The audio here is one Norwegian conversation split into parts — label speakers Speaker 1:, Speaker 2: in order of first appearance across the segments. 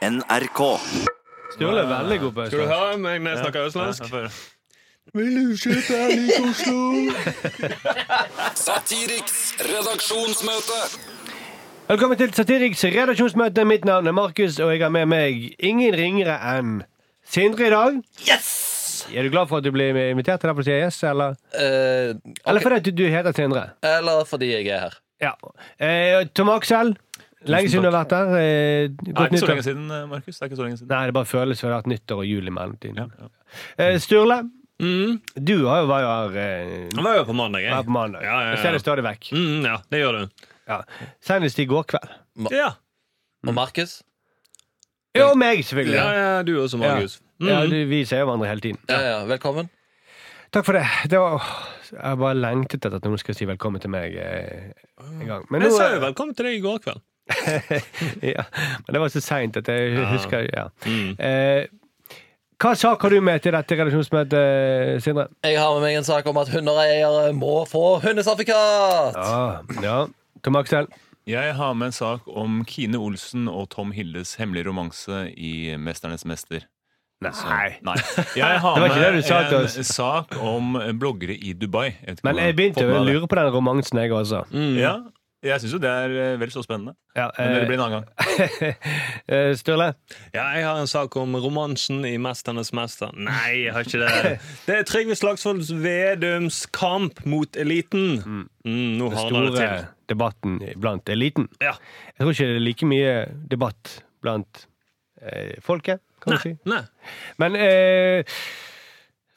Speaker 1: NRK.
Speaker 2: Sturle er veldig god på
Speaker 3: Skal du
Speaker 2: østlandsk.
Speaker 3: høre meg når jeg snakker østlandsk?
Speaker 2: Vil du kjøpe en lik Oslo?
Speaker 4: Satiriks redaksjonsmøte.
Speaker 2: Velkommen til Satiriks redaksjonsmøte. Mitt navn er Markus, og jeg har med meg ingen ringere enn Sindre i dag. Yes! Er du glad for at du blir invitert til deg på CIS, eller?
Speaker 5: Eh,
Speaker 2: Eller fordi du, du heter Sindre?
Speaker 5: eller fordi jeg er her.
Speaker 2: Ja. Eh, Tom Aksel, lenge siden du har vært der. Eh,
Speaker 6: Det er
Speaker 2: godt
Speaker 6: ikke så
Speaker 2: nyttår.
Speaker 6: lenge siden, eh, Markus. Det er ikke så lenge siden.
Speaker 2: Nei, det bare føles som det har vært nyttår og jul i mellomtiden.
Speaker 6: Ja, ja.
Speaker 2: Eh, Sturle,
Speaker 3: Mm.
Speaker 2: du har jo vært her eh,
Speaker 3: Det var jo på mandag,
Speaker 2: her
Speaker 3: jeg.
Speaker 2: på mandag.
Speaker 3: Ja, ja, ja.
Speaker 2: Jeg ser det stadig vekk.
Speaker 3: Mm, ja, det gjør du.
Speaker 2: Ja. Senest i går kveld.
Speaker 3: Ja,
Speaker 5: Og Markus?
Speaker 2: Ja, og meg, selvfølgelig.
Speaker 3: ja, ja du også, Markus. Mm.
Speaker 2: Ja, du, vi ser jo hverandre hele tiden.
Speaker 5: Ja, ja, velkommen.
Speaker 2: Takk for det. det var, åh, jeg bare lengtet etter at noen skulle si velkommen til meg eh, en gang. Men,
Speaker 3: Jeg
Speaker 2: nå, eh,
Speaker 3: sa jo velkommen til deg i går kveld.
Speaker 2: ja, men det var så seint at jeg
Speaker 3: Ja.
Speaker 2: husker ja.
Speaker 3: Mm.
Speaker 2: eh, Hva sak har du med til dette redaksjonsmøtet, Sindre?
Speaker 5: Jeg har med meg en sak om at hundeeiere må få hundesertifikat!
Speaker 2: Ja, Ah, ja. Tom Aksel?
Speaker 6: Jeg har med en sak om Kine Olsen og Tom Hildes hemmelige romanse i 'Mesternes mester'.
Speaker 2: Nei.
Speaker 6: Nei. Jeg har
Speaker 2: Det var ikke det du
Speaker 6: med
Speaker 2: sa til
Speaker 6: en
Speaker 2: oss.
Speaker 6: sak om bloggere i Dubai. Jeg vet ikke
Speaker 2: Men
Speaker 6: om
Speaker 2: jeg
Speaker 6: du har
Speaker 2: begynte
Speaker 6: fått
Speaker 2: å
Speaker 6: med deg
Speaker 2: lure på den romansen, jeg også.
Speaker 6: det. Ja, jeg syns jo det er eh, vel så spennende.
Speaker 2: Ja,
Speaker 6: Mm. Men det
Speaker 2: eh,
Speaker 6: blir en annen gang.
Speaker 2: eh, Sturle?
Speaker 3: Ja, jeg har en sak om romansen i 'Mesternes mester'. Nei, jeg har ikke det. Det er Trygve Slagsvold Vedums kamp mot eliten. Mm, nå
Speaker 2: Den
Speaker 3: hardner det
Speaker 2: store
Speaker 3: til.
Speaker 2: debatten blant eliten.
Speaker 3: Ja.
Speaker 2: Jeg tror ikke det er like mye debatt blant eh, folket, kan du si.
Speaker 3: Nei.
Speaker 2: Men eh,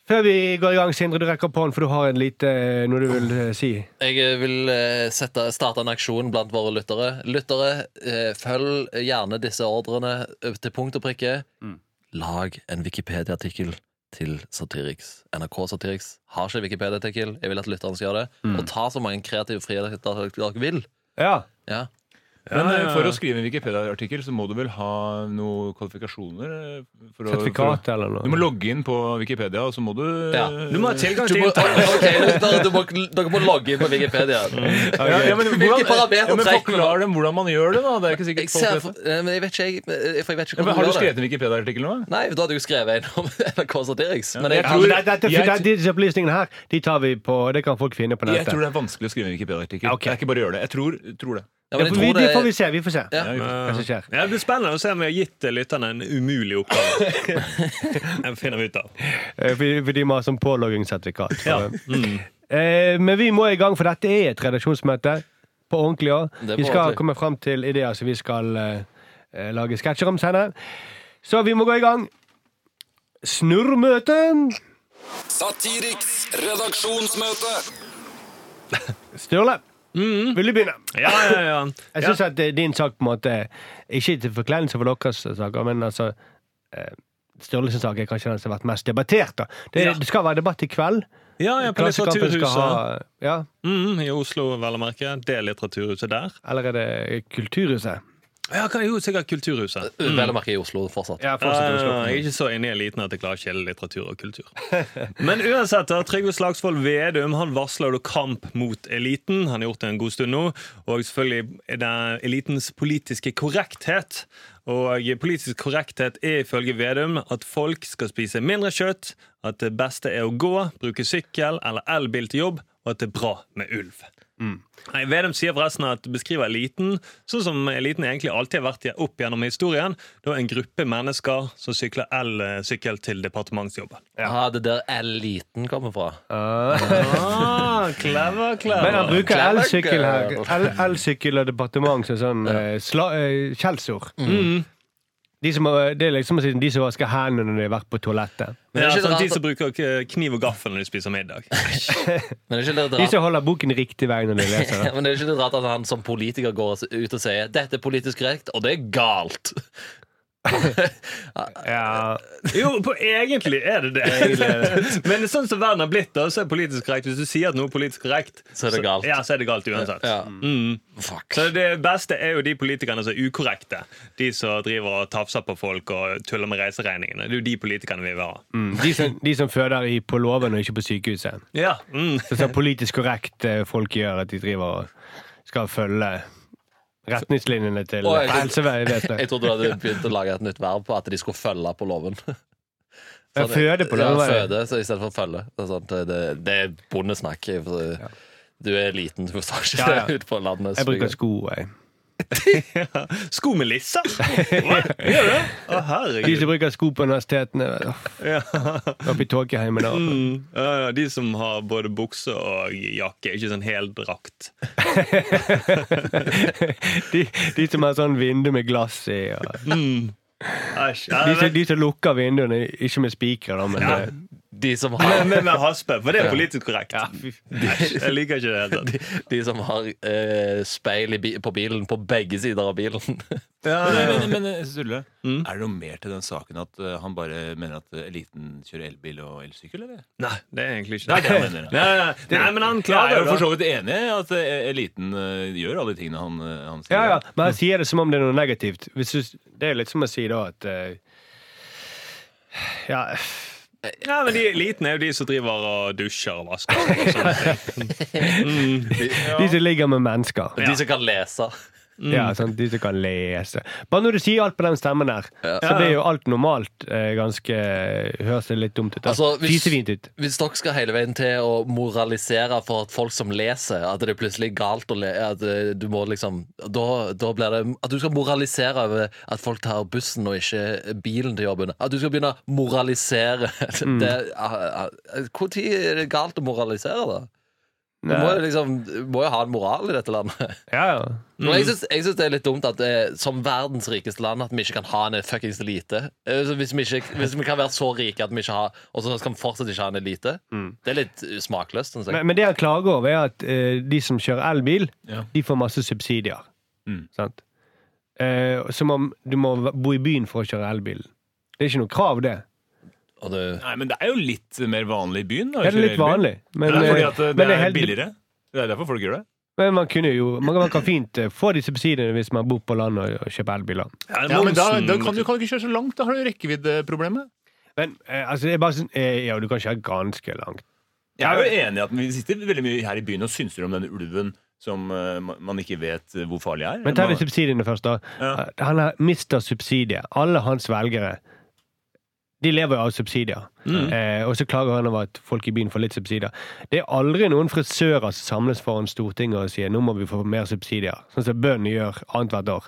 Speaker 2: før vi går i gang, Sindre, du rekker opp hånden, for du har en lite eh, noe du vil eh, si.
Speaker 5: Jeg eh, vil eh, sette, starte en aksjon blant våre lyttere. Lyttere, eh, følg gjerne disse ordrene eh, til punkt og prikke. Lag en Wikipedia-artikkel til Satiriks. NRK Satiriks har ikke Wikipedia-artikkel. Jeg vil at lytterne skal gjøre det. Og ta så mange kreative friheter dere vil.
Speaker 2: Ja.
Speaker 5: Ja.
Speaker 6: Men eh,
Speaker 3: ja, ja.
Speaker 6: for å skrive en Wikipedia-artikkel så må du vel ha noen kvalifikasjoner? eh, For å,
Speaker 2: Sertifikat
Speaker 6: for å,
Speaker 2: eller
Speaker 6: du må
Speaker 2: noe.
Speaker 6: logge inn på Wikipedia, og så må du
Speaker 5: Ja.
Speaker 3: Du må ha tilgang
Speaker 5: Du
Speaker 3: til
Speaker 5: må,
Speaker 3: internett.
Speaker 5: ok, lyttere, du må, dere må logge inn på Wikipedia.
Speaker 6: ja, ja, men,
Speaker 5: Hvilke
Speaker 6: hvordan,
Speaker 5: parametere
Speaker 6: ja, men
Speaker 5: trekker du?
Speaker 6: Forklar dem hvordan man gjør det, da. Det er ikke
Speaker 5: Jeg
Speaker 6: sikkert folk
Speaker 5: ser,
Speaker 6: vet det.
Speaker 5: for, eh, men jeg vet ikke, jeg, eh, for jeg vet ikke
Speaker 6: Ja, men har
Speaker 5: hvordan
Speaker 6: du
Speaker 5: du gjør
Speaker 6: skrevet
Speaker 5: det.
Speaker 6: en Wikipedia-artikkel nå?
Speaker 5: Nei, da hadde jeg jo skrevet en om NRK Satiriks. Men jeg,
Speaker 6: Jeg
Speaker 2: Ja, men
Speaker 6: tror-
Speaker 2: det, dette,
Speaker 6: jeg-
Speaker 2: det- disse opplysningene her De tar vi på, det kan folk finne på
Speaker 6: Jeg
Speaker 2: nettet.
Speaker 6: tror det er vanskelig å skrive en Wikipedia-artikkel.
Speaker 2: Ja, ok.
Speaker 6: Det er ikke bare å gjøre det. Jeg tror, tror det.
Speaker 5: ja,
Speaker 2: Ja,
Speaker 5: men jeg
Speaker 2: for vi,
Speaker 5: tror
Speaker 2: det får vi
Speaker 5: det
Speaker 2: se. Vi får se.
Speaker 5: Ja.
Speaker 2: Hva som skjer.
Speaker 3: Ja, det blir spennende å se om vi har gitt lytterne en umulig oppgave. Det finner vi ut av.
Speaker 2: Eh, Fordi, fordi vi har sånn påloggingssertifikat.
Speaker 3: Ja. Mm.
Speaker 2: Eh, men vi må i gang, for dette er et redaksjonsmøte. På ordentlig
Speaker 5: Det
Speaker 2: òg.
Speaker 5: er
Speaker 2: Vi
Speaker 5: på
Speaker 2: skal
Speaker 5: ordentlig.
Speaker 2: komme fram til ideer som vi skal eh, eh, lage sketsjer om senere. Så vi må gå i gang. Snurrmøte.
Speaker 4: Satiriks redaksjonsmøte.
Speaker 2: Sturle, vil du begynne?
Speaker 3: Ja, ja, ja.
Speaker 2: Jeg
Speaker 3: Mm. ja.
Speaker 2: syns at eh, din sak på en måte Ikke til forkleinelse for deres saker, men altså eh, Sturle sin sak er kanskje den som har vært mest debattert. Da. Det,
Speaker 3: Ja.
Speaker 2: det skal være debatt i kveld.
Speaker 3: ja, ja på
Speaker 2: Klassekampen skal
Speaker 3: Litteraturhuset.
Speaker 2: ha- ja,
Speaker 3: Mm, I Oslo, vel å merke. Det er Litteraturhuset der.
Speaker 2: eller er det Kulturhuset?
Speaker 3: Ja, kan jo sikkert Kulturhuset.
Speaker 5: er vel å merke i Oslo fortsatt.
Speaker 2: Ja,
Speaker 3: Ja,
Speaker 2: fortsatt i Oslo.
Speaker 3: jeg er ikke så inne i eliten at jeg klarer å skille litteratur og kultur. Men uansett, da, Trygve Slagsvold Vedum han varsler jo kamp mot eliten. Han har gjort det en god stund nå. Og selvfølgelig er det elitens politiske korrekthet. Og politisk korrekthet er ifølge Vedum at folk skal spise mindre kjøtt, at det beste er å gå, bruke sykkel eller elbil til jobb, og at det er bra med ulv. Nei, Vedum sier forresten at beskriver eliten sånn som eliten egentlig alltid har vært opp gjennom historien. Da en gruppe mennesker som sykler elsykkel til departementsjobben.
Speaker 5: Ah, det der eliten kommer fra.
Speaker 3: Ah, clever, clever.
Speaker 2: Men han bruker
Speaker 5: Clever
Speaker 2: elsykkel her.
Speaker 5: girl.
Speaker 2: El- Elsykkel og departement som sånn eh, sla, eh, skjellsord.
Speaker 5: Mm.
Speaker 2: De som, har- det er liksom å si de som vasker hendene når de har vært på toalettet.
Speaker 5: Men
Speaker 3: ja,
Speaker 5: er ikke
Speaker 3: sånn
Speaker 5: det
Speaker 3: de som
Speaker 5: rart,
Speaker 3: bruker eh, kniv og gaffel når de spiser middag.
Speaker 5: men er ikke det
Speaker 2: De
Speaker 5: rart,
Speaker 2: som holder boken riktig vei når de leser.
Speaker 5: ja,
Speaker 2: den.
Speaker 5: men er ikke det rart at han som politiker går og s- ut og sier 'dette er politisk korrekt', og det er galt?
Speaker 2: Ja.
Speaker 3: Jo, på, egentlig er det det. Men sånn som verden har blitt, da, så er det politisk korrekt. Hvis du sier at noe er politisk korrekt,
Speaker 5: Så er det galt.
Speaker 3: Ja, så er det galt uansett.
Speaker 5: Ja.
Speaker 3: Mm.
Speaker 5: Fuck.
Speaker 3: Så Det beste er jo de politikerne som er ukorrekte. De som driver og tafser på folk og tuller med reiseregningene. Det er jo de politikerne vi vil ha.
Speaker 2: Mm. De, som, de som føder i, på låven og ikke på sykehuset.
Speaker 3: Ja, mm.
Speaker 2: Det er sånn politisk korrekt eh, folk gjør, at de driver og skal følge retningslinjene til
Speaker 5: Å, jeg-
Speaker 2: helsevesenet.
Speaker 5: Jeg trodde du hadde begynt å lage et nytt verb på at de skulle følge på loven.
Speaker 2: Ja, føde på loven,
Speaker 5: Ja,
Speaker 2: var det.
Speaker 5: føde, så i stedet for følge. Det er, sant, det, det er bondesnakk. Du er liten, du står ikke
Speaker 2: Ja, ja.
Speaker 5: ute på landet.
Speaker 2: Jeg bruker sko, jeg.
Speaker 3: Sko med lisser! Hva? Gjør du det? Å,
Speaker 2: De som
Speaker 3: herregud.
Speaker 2: bruker sko på universitetene. vet du.
Speaker 3: Ja.
Speaker 2: Oppe i tåkeheimen. og-
Speaker 3: Mm, ja, ja, de som har både bukse og jakke, ikke sånn hel drakt.
Speaker 2: De, de som har sånn vindu med glass i. Og
Speaker 3: Mm. Æsj. Ja,
Speaker 2: de, som,
Speaker 3: men-
Speaker 2: de som lukker vinduene, ikke med spikere, da, men
Speaker 3: Ja.
Speaker 2: eh,
Speaker 5: De som
Speaker 3: men-
Speaker 5: har,
Speaker 3: men med haspe, for det er politisk korrekt.
Speaker 2: ja, fy-
Speaker 3: Æsj, Jeg liker ikke det. helt.
Speaker 5: de, de som har eh, speil i bi på bilen, på begge sider av bilen.
Speaker 6: Men, men, men Sturle, er det noe mer til den saken at eh, han bare mener at eh, eliten kjører elbil og elsykkel, eller?
Speaker 3: Nei, det er egentlig ikke
Speaker 6: Nei,
Speaker 3: det.
Speaker 6: det mener jeg.
Speaker 3: Nei, nei, nei. nei, men han
Speaker 6: Jeg er
Speaker 3: klager,
Speaker 6: jo for
Speaker 3: da.
Speaker 6: så vidt enig i at eh, eliten eh, gjør alle de tingene han, eh, han sier.
Speaker 2: Ja, ja, men han sier det som om det er noe negativt. Hvis du, det er litt som å si da at eh, Ja,
Speaker 3: Ja, men de eliten er jo de som driver og dusjer og vasker. Og sånne ting.
Speaker 2: de som ligger med mennesker.
Speaker 5: De som kan lese.
Speaker 2: Ja, sånn, De som kan lese. Bare når du sier alt på den stemmen der, så blir jo alt normalt eh, ganske Høres det litt dumt ut. da.
Speaker 5: Altså, hvis-
Speaker 2: Fisefint ut.
Speaker 5: Hvis dere skal hele veien til å moralisere for at folk som leser, at det er plutselig galt å le at eh, du må liksom, da, da blir det At du skal moralisere over at folk tar bussen og ikke bilen til jobben. At du skal begynne å moralisere. Det, ah, ah, hvor tid er det galt å moralisere, da? Du må jo liksom må jo ha en moral i dette landet.
Speaker 2: Ja, ja.
Speaker 5: Men
Speaker 3: Mm.
Speaker 5: jeg syns, jeg syns det er litt dumt at eh, som verdens rikeste land at vi ikke kan ha en fuckings elite. Eh, så Hvis vi, ikke, hvis vi kan være så rike at vi ikke har Og så skal vi fortsatt ikke ha en elite.
Speaker 3: Mm.
Speaker 5: Det er litt eh, smakløst. Synes jeg.
Speaker 2: Men, men det han klager over, er at eh, de som kjører elbil,
Speaker 6: Ja.
Speaker 2: de får masse subsidier.
Speaker 6: Mm.
Speaker 2: Sant? Eh, som om du må bo i byen for å kjøre elbil. Det er ikke noe krav, det.
Speaker 5: og det,
Speaker 6: Nei, men det er jo litt mer vanlig i byen. Da, å
Speaker 2: Det er
Speaker 6: kjøre
Speaker 2: litt
Speaker 6: elbil.
Speaker 2: vanlig. Men,
Speaker 6: det er fordi
Speaker 2: eh,
Speaker 6: at eh,
Speaker 2: men
Speaker 6: det
Speaker 2: helt-
Speaker 6: er billigere. Det er derfor folk gjør det.
Speaker 2: Men man kunne jo Man, man kan fint eh, få de subsidiene hvis man bor på landet og, og kjøper elbiler.
Speaker 3: Ja,
Speaker 6: Ja, men da,
Speaker 3: momsen-
Speaker 6: da kan du kan du ikke kjøre så langt. Da har du rekkeviddeproblemet.
Speaker 2: Men eh, altså, det er bare sånn eh, Ja, du kan kjøre ganske langt.
Speaker 6: Jeg er jo enig i at vi sitter veldig mye her i byen og synser om den ulven som eh, ma- man ikke vet eh, hvor farlig er.
Speaker 2: Men ta de
Speaker 6: Man-
Speaker 2: subsidiene først, da.
Speaker 6: Ja.
Speaker 2: Eh, Han har mista subsidier. Alle hans velgere. De lever jo av subsidier. Eh, og så klager han over at folk i byen får litt subsidier. Det er aldri noen frisører som samles foran Stortinget og sier 'nå må vi få mer subsidier', sånn som bøndene gjør annethvert år.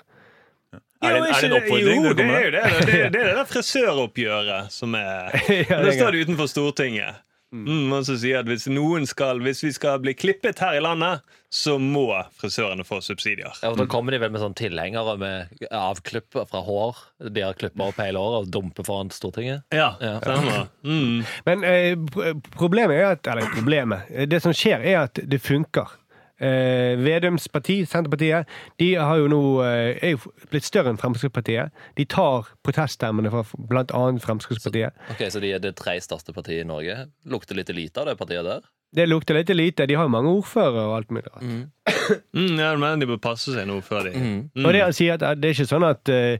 Speaker 6: er, det, er det en oppfordring?
Speaker 3: Jo,
Speaker 6: dere
Speaker 3: det
Speaker 6: kommer
Speaker 3: er
Speaker 6: med?
Speaker 3: jo det. Det er det, er det der frisøroppgjøret som er
Speaker 2: Ja,
Speaker 3: Da
Speaker 2: det er
Speaker 3: står det utenfor Stortinget. Mm, og så sier at hvis, noen skal, hvis vi skal bli klippet her i landet, så må frisørene få subsidier.
Speaker 5: ja, og da kommer de vel med sånn tilhengere med avklipper fra hår. De har klippa opp hele håret og dumper foran Stortinget.
Speaker 3: Ja,
Speaker 5: Ja.
Speaker 3: stemmer. Mm.
Speaker 2: Men eh, pro- problemet er at Eller problemet. eh, Det som skjer, er at det funker. Eh, Vedums parti, Senterpartiet, de har jo nå, eh, er jo blitt større enn Fremskrittspartiet. De tar proteststemmene fra bl.a. Fremskrittspartiet.
Speaker 5: Ok, Så de er det tre største partiet i Norge. Lukter litt elite av det partiet der.
Speaker 2: Det lukter litt lite. De har jo mange ordførere og alt mulig rart.
Speaker 3: Mm, ja, men de bør passe seg nå før de
Speaker 5: Mm.
Speaker 2: Og det han sier, at det er ikke sånn at eh,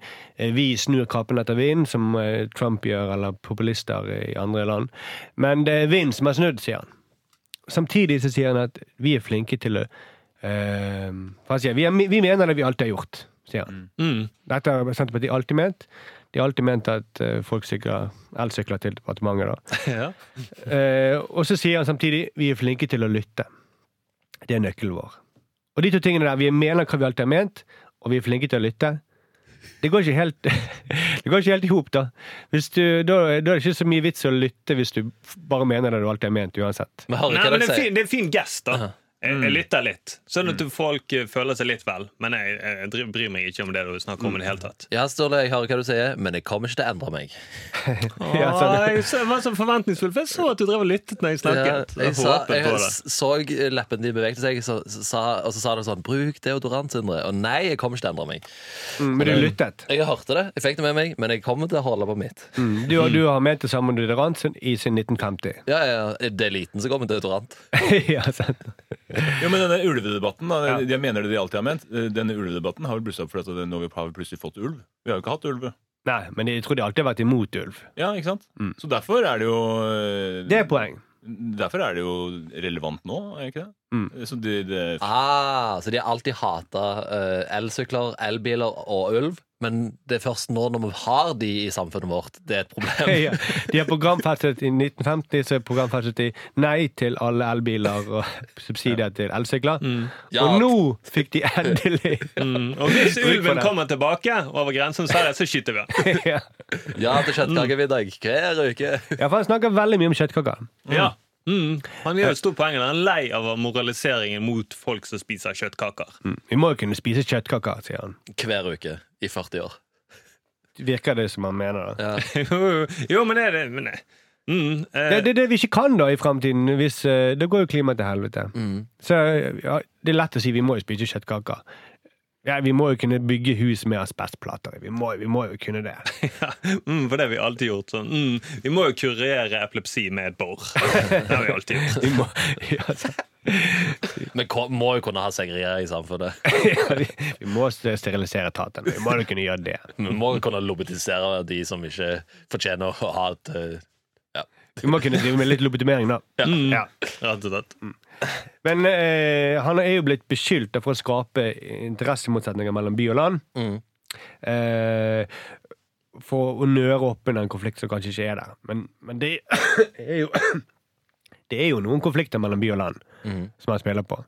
Speaker 2: vi snur kappen etter vinden, som eh, Trump gjør, eller populister i andre land. Men det er vinden som har snudd, sier han. Samtidig så sier han at vi er flinke til å eh, hva sier han? vi, er, vi mener det vi alltid har gjort, sier han.
Speaker 3: Mm.
Speaker 2: Dette har Senterpartiet alltid ment. De har alltid ment at eh, folk sykler elsykler til departementet, da.
Speaker 3: Ja.
Speaker 2: Eh, og så sier han samtidig vi er flinke til å lytte. Det er nøkkelen vår. Og de to tingene der, vi mener hva vi alltid har ment, og vi er flinke til å lytte. Det går ikke helt Det går ikke helt i hop, da. Hvis du, da. Da er det ikke så mye vits å lytte hvis du f- bare mener det du alltid har ment, uansett.
Speaker 5: Vi hører
Speaker 3: Nei,
Speaker 5: hva
Speaker 3: men
Speaker 5: dere
Speaker 3: det er,
Speaker 5: sier.
Speaker 3: fin, det er en fin gest, da. Jeg, jeg lytter litt, sånn at folk eh, føler seg litt vel. Men jeg, jeg dri- bryr meg ikke om det du snakker om i det hele tatt.
Speaker 5: Ja, Sturle, jeg hører hva du sier, men jeg kommer ikke til å endre meg.
Speaker 2: Ja, sånn.
Speaker 3: Åh, jeg så- jeg var så forventningsfull, for jeg så at du drev og lyttet når jeg snakket.
Speaker 5: Ja, jeg
Speaker 3: Jeg
Speaker 5: sa,
Speaker 3: håpet på
Speaker 5: jeg
Speaker 3: det.
Speaker 5: s- så leppen din bevegte seg, så, så, sa- og så sa du sånn 'Bruk deodorant, Sindre.' Og nei, jeg kommer ikke til å endre meg.
Speaker 2: Mm, Men du lyttet.
Speaker 5: Jeg hørte det, jeg fikk det med meg, men jeg kommer til å holde på mitt.
Speaker 2: Mm, Du, du har ment det samme om deodorant sin- i sin 1950.
Speaker 5: Ja, ja, Det er liten som går med deodorant.
Speaker 2: ja, sant.
Speaker 6: Jo, men denne ulvedebatten, da, de- de mener det de alltid har ment. Eh, Denne ulvedebatten har vel blusset opp fordi at nå har vi plutselig fått ulv. Vi har jo ikke hatt ulve.
Speaker 2: Nei, men jeg tror de alltid har vært imot ulv.
Speaker 6: Ja, ikke sant? Så derfor er det jo eh,
Speaker 2: Mm. Det er poeng.
Speaker 6: Derfor er det jo relevant nå, er det ikke det?
Speaker 2: Mm.
Speaker 6: Så det, det
Speaker 5: Ah, så de har alltid hata elsykler, elbiler og ulv. Men det er først nå når vi har de i samfunnet vårt, det er et problem.
Speaker 2: Ja, de har programfestet i 1950 så er programfestet de nei til alle elbiler og subsidier til elsykler.
Speaker 5: Ja.
Speaker 2: Og nå fikk de endelig
Speaker 3: Mm. Og hvis
Speaker 2: Bruk for
Speaker 3: ulven
Speaker 2: det.
Speaker 3: kommer tilbake over grensen, så, er det, så skyter vi den.
Speaker 2: ja.
Speaker 5: Ja, til kjøttkakeviddag hver uke.
Speaker 2: Ja, for han snakker veldig mye om kjøttkaker.
Speaker 3: Ja. Mm. Han gjør et stort poeng. Han er lei av moraliseringen mot folk som spiser kjøttkaker.
Speaker 2: Mm. Vi må jo kunne spise kjøttkaker, sier han.
Speaker 5: Hver uke i 40 år.
Speaker 2: Virker det som han mener det.
Speaker 3: jo, jo, men er det men, eh, mm, eh,
Speaker 2: Det er det, er det vi ikke kan da i framtiden. Hvis, eh, det går jo klimaet til helvete. Så ja, det er lett å si vi må jo spise kjøttkaker. Ja, vi må jo kunne bygge hus med asbestplater. Vi må, vi må jo kunne det.
Speaker 3: ja, mm, For det har vi alltid gjort. Sånn. Mm, vi må jo kurere epilepsi med et bor. Det har vi alltid gjort.
Speaker 2: Vi må, ja, så,
Speaker 5: Vi ko- må jo kunne ha segregering i samfunnet.
Speaker 2: ja, vi, vi må sterilisere tatene. Vi må jo kunne gjøre det.
Speaker 5: Vi må jo kunne lobotisere de som ikke fortjener å ha et eh,
Speaker 2: Vi må kunne drive med litt lobotomering, da.
Speaker 3: Mm,
Speaker 2: Ja.
Speaker 3: Rett og slett.
Speaker 2: Men eh, han er jo blitt beskyldt da for å skape interessemotsetninger mellom by og land.
Speaker 5: Mm.
Speaker 2: Eh, for å nøre opp under en konflikt som kanskje ikke er der. Men, men det er jo Det er jo noen konflikter mellom by og land
Speaker 5: Mhm.
Speaker 2: som han spiller på.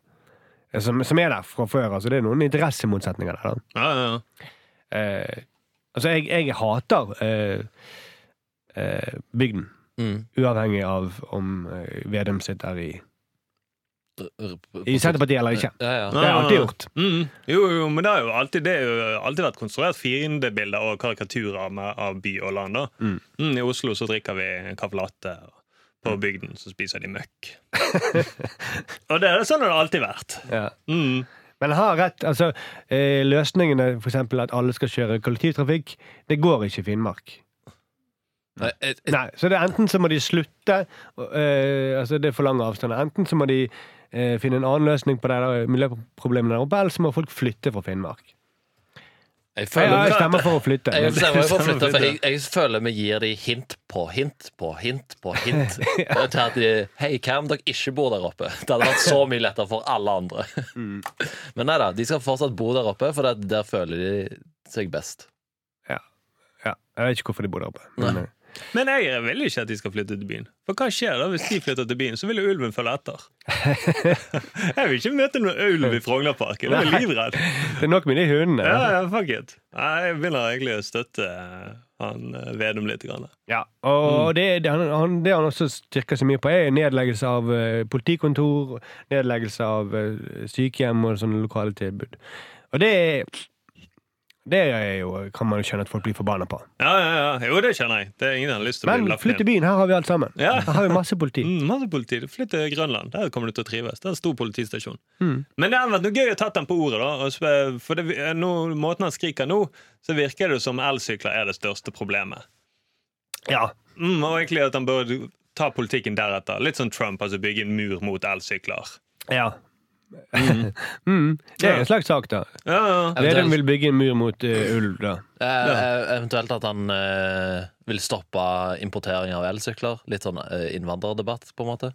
Speaker 2: Eh, Som, som er der fra før. Altså, det er noen interessemotsetninger der. Da.
Speaker 3: Ja, ja, ja.
Speaker 2: Eh, altså, jeg, jeg hater eh, eh, bygden.
Speaker 5: Mm.
Speaker 2: Uavhengig av om eh, Vedum sitter i,
Speaker 5: r- r-
Speaker 2: i Senterpartiet eller ikke.
Speaker 5: Ja, ja.
Speaker 2: Det har jeg alltid gjort.
Speaker 3: Mm. Jo, jo, men det har jo alltid, det har jo alltid vært konstruert fiendebilder og karikaturer med, av by og land. Da.
Speaker 2: Mm.
Speaker 3: Mm, I Oslo så drikker vi caffè latte, og på bygden så spiser de møkk. og det er sånn det har alltid vært.
Speaker 2: Ja.
Speaker 3: Mm.
Speaker 2: Men han har rett. altså eh, Løsningene, f.eks. at alle skal kjøre kollektivtrafikk, det går ikke i Finnmark.
Speaker 5: Nei, et- et-
Speaker 2: Nei, Så det er enten så må de slutte, og, eh, altså det er for lange avstander. Enten så må de eh, finne en annen løsning på det der eh, miljøproblemet der oppe, eller så må folk flytte fra Finnmark.
Speaker 5: Jeg
Speaker 2: Jeg,
Speaker 5: føler
Speaker 2: jeg stemmer for å flytte.
Speaker 5: Jeg,
Speaker 2: men-
Speaker 5: stemmer for å flytte, for jeg, jeg føler vi gir de hint på hint på hint på hint. Til at de Hei, hva om dere ikke bor der oppe? Det hadde vært så mye lettere for alle andre. Men nei da, de skal fortsatt bo der oppe, for det, der føler de seg best.
Speaker 2: ja, jeg vet ikke hvorfor de bor der oppe. Men,
Speaker 5: Nei.
Speaker 2: eh,
Speaker 3: Men jeg vil ikke at de skal flytte til byen. For hva skjer da hvis de flytter til byen? Så vil jo ulven følge etter. jeg vil ikke møte noen ulv i Frognerparken. Jeg
Speaker 2: Nei.
Speaker 3: blir livredd.
Speaker 2: det er nok med de hundene.
Speaker 3: Ja, ja, fuck it. Nei, Jeg begynner egentlig å støtte han eh, Vedum litt. Grann.
Speaker 2: Ja,
Speaker 3: Mm.
Speaker 2: og det, det, han, han, det han også styrker så mye på, er nedleggelse av eh, politikontor, nedleggelse av eh, sykehjem og sånne lokale tilbud. Og det er det er jo, kan man jo skjønne at folk blir forbanna på.
Speaker 3: Ja, ja, ja. Jo, det skjønner jeg. Det er ingen som har lyst til å
Speaker 2: Men
Speaker 3: bli lagt
Speaker 2: flytt til
Speaker 3: ned.
Speaker 2: byen, her har vi alt sammen.
Speaker 3: Ja.
Speaker 2: Her har vi masse politi.
Speaker 3: Mm, masse politi. Flytt til Grønland. Der kommer du til å trives. Det er en stor politistasjon.
Speaker 2: Mm.
Speaker 3: Men det hadde vært noe gøy å tatt den på ordet, da. og sp- For det, eh, nå, måten han skriker nå, så virker det som elsykler er det største problemet.
Speaker 2: Ja.
Speaker 3: Mm, og egentlig at han bør ta politikken deretter. Litt sånn Trump, altså bygge en mur mot elsykler.
Speaker 2: ja. mm. Det er en slags sak, da.
Speaker 3: Ja, ja.
Speaker 2: Vedum vil bygge en mur mot eh, ulv, da.
Speaker 5: Eh, Eventuelt at han eh, vil stoppe importering av elsykler. Litt sånn eh, innvandrerdebatt, på en måte.